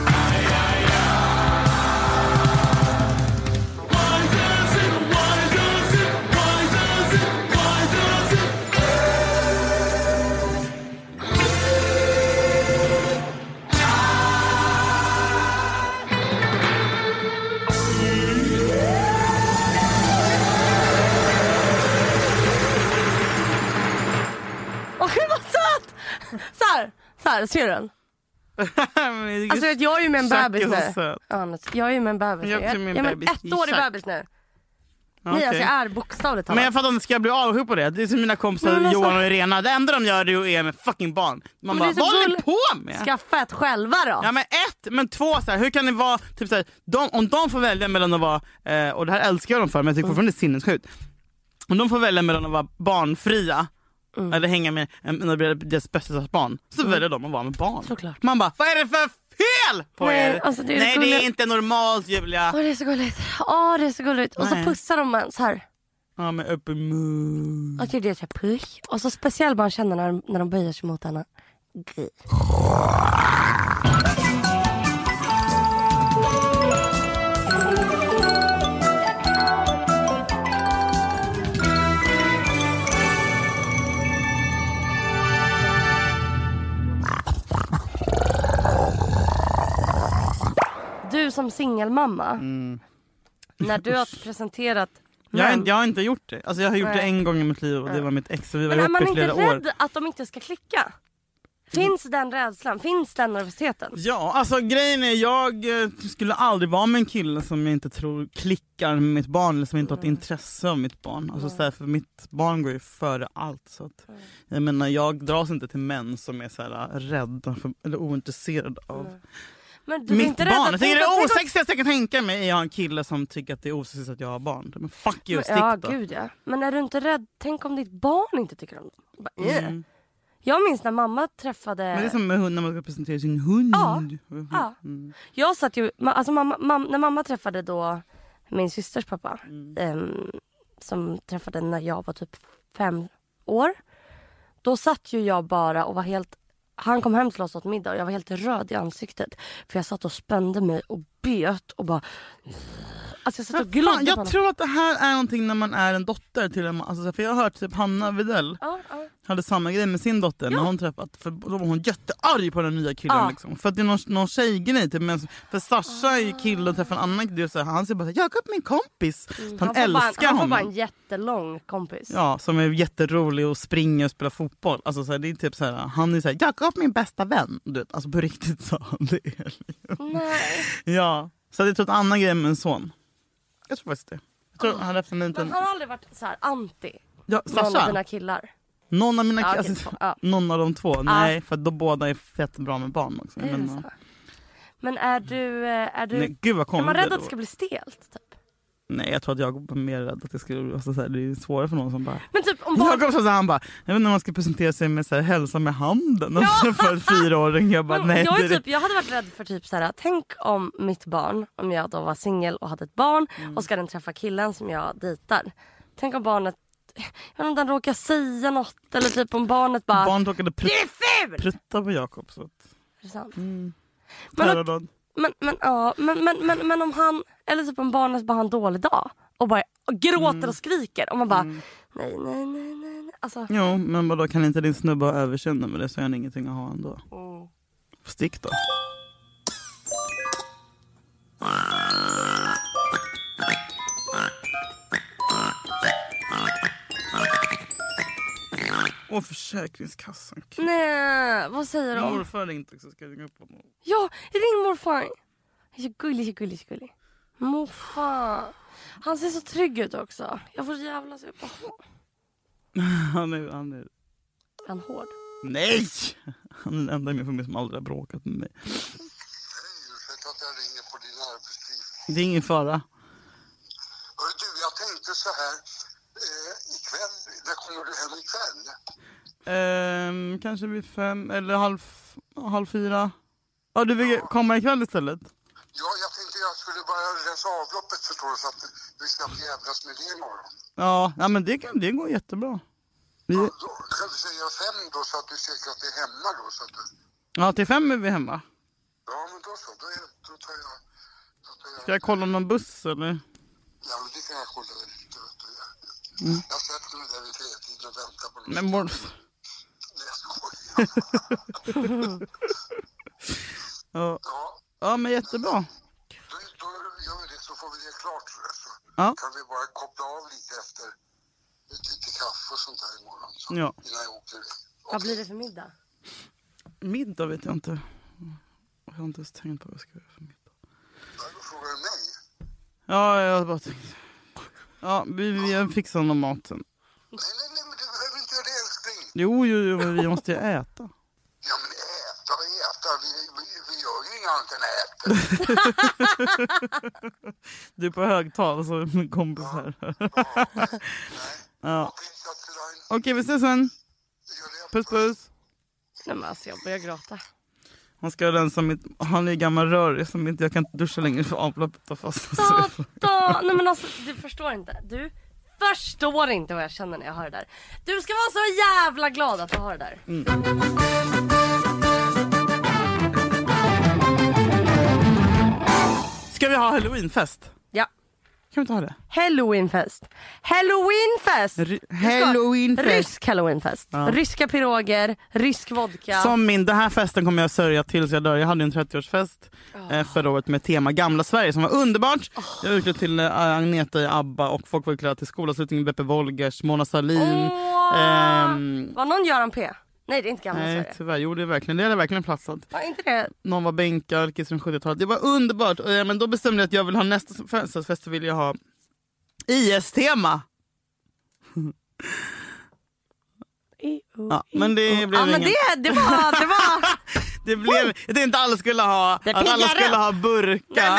Speaker 12: Ay, ay, ay. Why does it, why does it, why does it, why does it
Speaker 7: Åh gud vad söt! Såhär, såhär, ser du den? Alltså vet, jag är ju med en
Speaker 12: Zack är
Speaker 7: bebis
Speaker 12: så
Speaker 7: nu.
Speaker 12: söt.
Speaker 7: Ja, han är- jag är ju med en bebis nu.
Speaker 12: Jag är också med en
Speaker 7: jag är med
Speaker 12: bebis.
Speaker 7: ett år i
Speaker 12: Zack.
Speaker 7: bebis nu. Nej
Speaker 3: Okej.
Speaker 7: alltså jag är bokstavligt
Speaker 3: Men jag fattar inte, ska jag bli avundsjuk på det? Det är som mina kompisar
Speaker 7: Men alltså-
Speaker 3: Johan och Irena, det enda de gör är att är med fucking barn. Man
Speaker 7: Men
Speaker 3: bara,
Speaker 7: det är så
Speaker 3: vad håller ni
Speaker 7: gull-
Speaker 3: på med?
Speaker 7: Skaffa ett själva då.
Speaker 3: Ja men ett, men två så här, hur kan det vara, typ så här, de, om de får välja mellan att vara, eh, och det här älskar jag dem för men jag
Speaker 7: Mm.
Speaker 3: tycker fortfarande det är sinnessjukt. Om de får välja mellan att vara barnfria
Speaker 7: Mm.
Speaker 3: eller hänga med en en av deras bästisars barn, så väljer de att vara med barn.
Speaker 7: Såklart.
Speaker 3: Man bara, vad är det för fel på
Speaker 7: Nej,
Speaker 3: er?
Speaker 7: alltså, det är det
Speaker 3: Nej det
Speaker 7: gulliga-
Speaker 3: är inte normalt Julia.
Speaker 7: Åh det är så gulligt. Åh det är så gulligt. Och så
Speaker 3: Nej.
Speaker 7: pussar de en så här.
Speaker 3: Ja men upp i mun.
Speaker 7: Att typ det är det så här, puss. Och så speciellt man känner när, när de böjer sig mot henne. Gud. Du som singelmamma, när du har presenterat
Speaker 3: Jag, har
Speaker 7: män-
Speaker 3: inte- jag har inte gjort det. Alltså, jag har gjort
Speaker 7: Nej.
Speaker 3: det en gång i mitt liv och det
Speaker 7: Ja.
Speaker 3: var mitt ex. Vi var
Speaker 7: Men är
Speaker 3: ihop
Speaker 7: man
Speaker 3: i
Speaker 7: inte
Speaker 3: flera år.
Speaker 7: rädd att de inte ska klicka? Finns den rädslan? Finns den nervositeten?
Speaker 3: Ja, alltså grejen är jag eh, skulle aldrig vara med en kille som jag inte tror klickar med mitt barn eller som inte har
Speaker 7: Mm.
Speaker 3: ett intresse av mitt barn. Alltså så här, för mitt barn går ju före allt. Så att,
Speaker 7: Mm.
Speaker 3: jag menar jag dras inte till män som är så här, eh, rädda för, eller ointresserade av
Speaker 7: Men Mm. du är
Speaker 3: mitt
Speaker 7: inte
Speaker 3: barn.
Speaker 7: rädd att
Speaker 3: Jag tycker det är
Speaker 7: tänk om-
Speaker 3: osexigaste jag kan tänka mig är att ha en kille som tycker att det är osexigt att jag har barn. Men fuck you, stick
Speaker 7: Ja,
Speaker 3: då.
Speaker 7: gud ja. Men är du inte rädd? Tänk om ditt barn inte tycker om dem? Bara, eh.
Speaker 3: Mm.
Speaker 7: Jag minns när mamma träffade...
Speaker 3: Men det är som med hund när man ska presentera sin hund.
Speaker 7: Ja. Ja. Mm. Jag satt ju, ma- alltså mamma, mam, när mamma träffade då min systers pappa
Speaker 3: Mm.
Speaker 7: ehm, som träffade när jag var typ fem år. Då satt ju jag bara och var helt, han kom hem till oss åt middag och jag var helt röd i ansiktet. För jag satt och spände mig och bet och bara... Alltså jag satt och glodde
Speaker 3: Fan,
Speaker 7: på
Speaker 3: jag
Speaker 7: honom.
Speaker 3: tror att det här är någonting när man är en dotter till en man. Alltså, för jag har hört typ Hanna Widell
Speaker 7: Ja, ja.
Speaker 3: hade samma grej med sin dotter när hon träffat. För då var hon jättearg på den nya killen.
Speaker 7: Ja.
Speaker 3: Liksom. För att det är någon, någon tjejgrej. Typ, men, för Sasha är ju
Speaker 7: Ah.
Speaker 3: kille och träffar en annan kille. så här, Han säger bara Jakob min kompis. Han,
Speaker 7: Mm. Han får bara,
Speaker 3: älskar
Speaker 7: Han får bara en
Speaker 3: honom.
Speaker 7: jättelång kompis.
Speaker 3: Ja, som är jätterolig och springer och spelar fotboll. Alltså, så här, det är typ så här, han är så här, Jakob min bästa vän. Du vet, alltså på riktigt sa han det.
Speaker 7: Nej.
Speaker 3: Ja. Så hade jag trott annan grej med en son. Jag tror faktiskt det. Jag tror
Speaker 7: Ah.
Speaker 3: han hade haft en
Speaker 5: Men
Speaker 3: liten...
Speaker 5: han har aldrig varit så här anti
Speaker 3: Ja,
Speaker 5: någon av dina
Speaker 3: Sasha.
Speaker 5: killar?
Speaker 3: Någon av mina
Speaker 5: Ja,
Speaker 3: ja,
Speaker 5: okej,
Speaker 3: alltså,
Speaker 5: två, ja.
Speaker 3: Någon av de två. Nej, för att de båda är fett bra med barn också.
Speaker 5: Är det
Speaker 3: Men,
Speaker 5: så?
Speaker 3: eh,
Speaker 5: Men är du... eh, Är du
Speaker 3: Nej, gud, vad
Speaker 5: är man
Speaker 3: konstigt
Speaker 5: rädd
Speaker 3: det
Speaker 5: att det
Speaker 3: var.
Speaker 5: ska bli stelt? Typ?
Speaker 3: nej, jag tror att jag är mer rädd att det skulle... Alltså, så här, det är svårare för någon som bara...
Speaker 5: Men typ
Speaker 3: [LAUGHS]
Speaker 5: om barn...
Speaker 3: Jakob sa så här, han bara, jag vet inte om man ska presentera sig med så här, hälsa med handen alltså, för en fyraåring. Jag
Speaker 5: [LAUGHS]
Speaker 3: bara, nej.
Speaker 5: jag, är
Speaker 3: det är-
Speaker 5: typ, jag hade varit rädd för typ så här, tänk om mitt barn, om jag då var singel och hade ett barn
Speaker 3: Mm.
Speaker 5: och ska den träffa killen som jag dejtar. Tänk om barnet, jag vet inte om den råkar säga något eller typ om barnet bara...
Speaker 3: Barnet råkade prutt-
Speaker 5: Det är ful!
Speaker 3: prutta på Jakob. Så att,
Speaker 5: Är det sant?
Speaker 3: Mm.
Speaker 5: Men
Speaker 3: men,
Speaker 5: att- Men, men, ja, men, men, men, men om han, eller typ om barnet bara har en dålig dag och bara och gråter
Speaker 3: Mm.
Speaker 5: och skriker och man bara nej, nej, nej, nej, nej. Alltså,
Speaker 3: jo, men vadå, kan inte din snubbe ha överseende med det så har han ingenting att ha ändå.
Speaker 5: Mm.
Speaker 3: Stick då. Och Försäkringskassan.
Speaker 5: nej, vad säger de?
Speaker 3: Morfar inte så ska jag ringa upp honom.
Speaker 5: Ja, ring morfar. Han är Så gullig, så gullig, så gullig. Morfar. Han ser så trygg ut också. Jag får så jävla se på honom.
Speaker 3: Han är, han är...
Speaker 5: Är han hård?
Speaker 3: Nej! Han är den enda i min familj som aldrig har bråkat med mig. Det är ingen fara.
Speaker 13: Hörru du, jag tänkte så här. Eh, ikväll, när kommer du hem ikväll?
Speaker 3: Ehm, kanske vid fem eller halv, halv fyra. Ja, du vill komma ikväll istället?
Speaker 13: Ja, jag tänkte jag skulle bara rensa avloppet förstår du, så att vi ska inte jävlas med det imorgon.
Speaker 3: Ja, nej, men det, kan, det går jättebra. Vi,
Speaker 13: Kan du säga fem då så att du är säker att det är hemma då? Så att, du-
Speaker 3: ja, till fem är vi hemma.
Speaker 13: ja, men då så. Då, är, då tar jag...
Speaker 3: Ska jag kolla om någon buss eller?
Speaker 13: Ja, men det kan jag kolla lite. Vet du.
Speaker 3: Mm.
Speaker 13: Jag sätter mig där vid tretiden och väntar på något.
Speaker 3: Men morf... ja. ja, men jättebra.
Speaker 13: Då gör vi det så får vi det klart. Så, så
Speaker 3: Ja.
Speaker 13: kan vi bara koppla av lite efter lite kaffe och sånt där imorgon. Så,
Speaker 3: Ja.
Speaker 13: Innan jag åker iväg.
Speaker 5: Vad blir det för middag?
Speaker 3: Middag vet jag inte. Jag har inte ens tänkt på vad jag ska göra för middag.
Speaker 13: Frågar du mig?
Speaker 3: Ja, jag har bara tänkt. Ja, vi, vi fixar nog maten.
Speaker 13: Nej, nej, nej, men du behöver inte göra det älskling.
Speaker 3: Jo, jo, jo, men vi måste ju äta.
Speaker 13: Ja, men äta och äta. Vi, vi, vi gör ju inget annat än äta.
Speaker 3: Du är på högtal så [LAUGHS] min kompis här. Ja. Okej, vi ses sen. Puss puss.
Speaker 5: Nej men alltså jag börjar gråta.
Speaker 3: Han ska rensa mitt... Han är ju gammal rörig som inte... Jag kan inte duscha längre för avloppet har fastnat. så jag får-
Speaker 5: [LAUGHS] Da, nej men alltså du förstår inte. Du förstår inte vad jag känner när jag hör det där. Du ska vara så jävla glad att du har det där.
Speaker 3: [LAUGHS] Ska vi ha halloweenfest?
Speaker 5: Ja.
Speaker 3: Kan vi inte ha det?
Speaker 5: Halloweenfest. Halloweenfest!
Speaker 3: halloweenfest.
Speaker 5: Rysk halloweenfest.
Speaker 3: Ja.
Speaker 5: Ryska piroger, rysk vodka.
Speaker 3: Som min, den här festen kommer jag sörja tills jag dör. Jag hade ju en 30-årsfest eh, förra året med tema gamla Sverige som var underbart. Jag var utklädd till eh, Agneta i ABBA och folk var utklädda till skolavslutningen Beppe Wolgers, Mona Sahlin. ehm,
Speaker 5: Var någon Göran P? Nej det är inte gamla
Speaker 3: nej
Speaker 5: Sverige.
Speaker 3: tyvärr, jo det är verkligen, det hade verkligen platsat.
Speaker 5: Var inte det?
Speaker 3: Någon var bänkölkis från 70-talet. Det var underbart. Och, eh, Men då bestämde jag att jag vill ha nästa födelsedagsfest så vill jag ha IS-tema. Ja, men det blev
Speaker 5: Ja men
Speaker 3: ingen.
Speaker 5: det, det var,
Speaker 3: [LAUGHS]
Speaker 5: det var.
Speaker 3: Det blev, jag tänkte inte alla skulle ha,
Speaker 5: Det
Speaker 3: att alla
Speaker 5: piggar
Speaker 3: skulle
Speaker 5: upp.
Speaker 3: ha burka.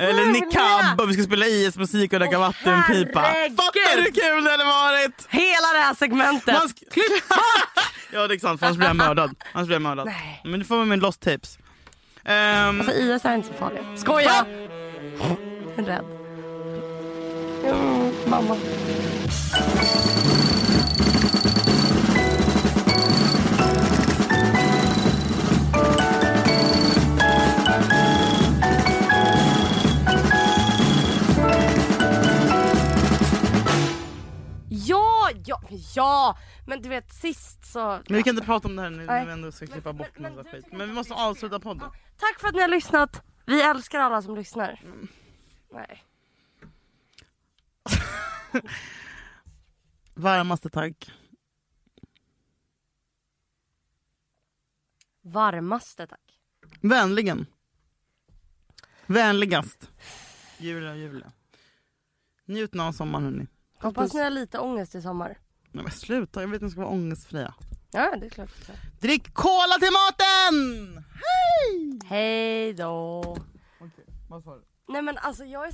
Speaker 3: Eller niqab och vi skulle spela IS-musik och dricka vattenpipa. Fattar du hur kul det hade varit?
Speaker 5: Hela det här segmentet.
Speaker 3: Man sk-
Speaker 5: [LAUGHS]
Speaker 3: Klipp bort! ja det är sant för annars blir jag mördad. Annars blir jag mördad. Men du får vara med min lost tapes. Um,
Speaker 5: Alltså IS är inte så farlig. Skoja! Rädd. Mm, mamma. Ja, ja, ja, men du vet sist så...
Speaker 3: Men vi kan inte prata om det här nu när
Speaker 5: Nej.
Speaker 3: vi ändå ska klippa bort men, massa skit. Men vi måste avsluta podden.
Speaker 5: Tack för att ni har lyssnat. Vi älskar alla som lyssnar. Nej.
Speaker 3: Varmaste tack.
Speaker 5: Varmaste tack.
Speaker 3: Vänligen. Vänligast. Julia, Julia. Njut nu av sommaren hörni.
Speaker 5: Hoppas ni har lite ångest i sommar.
Speaker 3: Nej, men sluta, jag vet att ni ska vara ångestfria.
Speaker 5: Ja, det är klart.
Speaker 3: Drick cola till maten! Hej!
Speaker 5: Hej då.
Speaker 3: Vad sa du?
Speaker 5: Nej men alltså jag är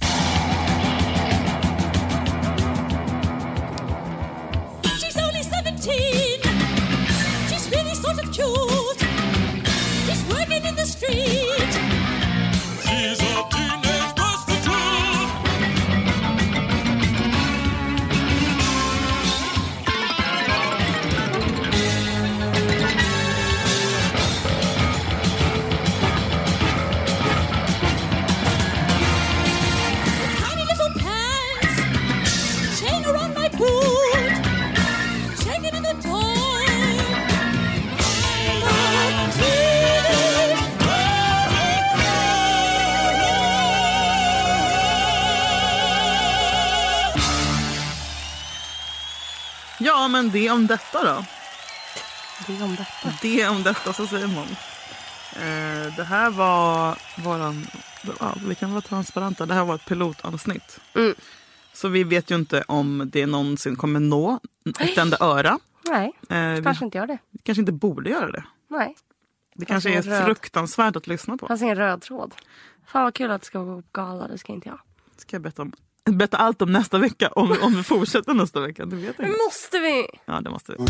Speaker 14: She's only 17. She's really sort of cute. She's working in the street. She's a teenage prostitute.
Speaker 10: Tiny little pants, chain around my boot, taken in the dark.
Speaker 3: Ja men det om detta då.
Speaker 5: Det om detta.
Speaker 3: Det om detta så säger man. Eh, det här var våran, ja, vi kan vara transparenta, det här var ett pilotavsnitt.
Speaker 5: Mm.
Speaker 3: Så vi vet ju inte om det någonsin kommer nå ett enda öra.
Speaker 5: Nej,
Speaker 3: Eh,
Speaker 5: kanske inte gör det.
Speaker 3: Vi kanske inte borde göra det.
Speaker 5: Nej.
Speaker 3: Det kanske
Speaker 5: Kanske
Speaker 3: är
Speaker 5: röd.
Speaker 3: fruktansvärt att lyssna
Speaker 5: Det
Speaker 3: på.
Speaker 5: fanns ingen röd tråd. Fan vad kul att du ska gå på gala, det ska inte jag.
Speaker 3: Ska jag berätta, om, berätta allt om nästa vecka, om, om vi fortsätter nästa vecka. Det vet jag inte.
Speaker 5: Måste vi?
Speaker 3: Ja, det måste vi.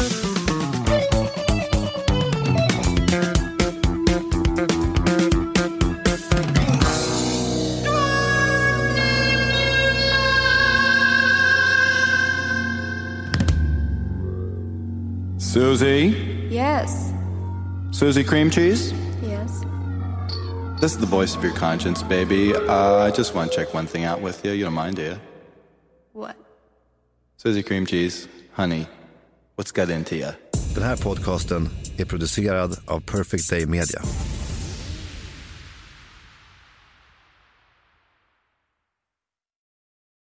Speaker 12: Susie?
Speaker 7: Yes.
Speaker 12: Susie Cream Cheese?
Speaker 7: Yes.
Speaker 12: This is the voice of your conscience, baby. Uh, I just want to check one thing out with you. You don't mind, do you?
Speaker 7: What?
Speaker 12: Susie Cream Cheese, honey, what's got into you?
Speaker 15: Den här podcasten är producerad av Perfect Day Media.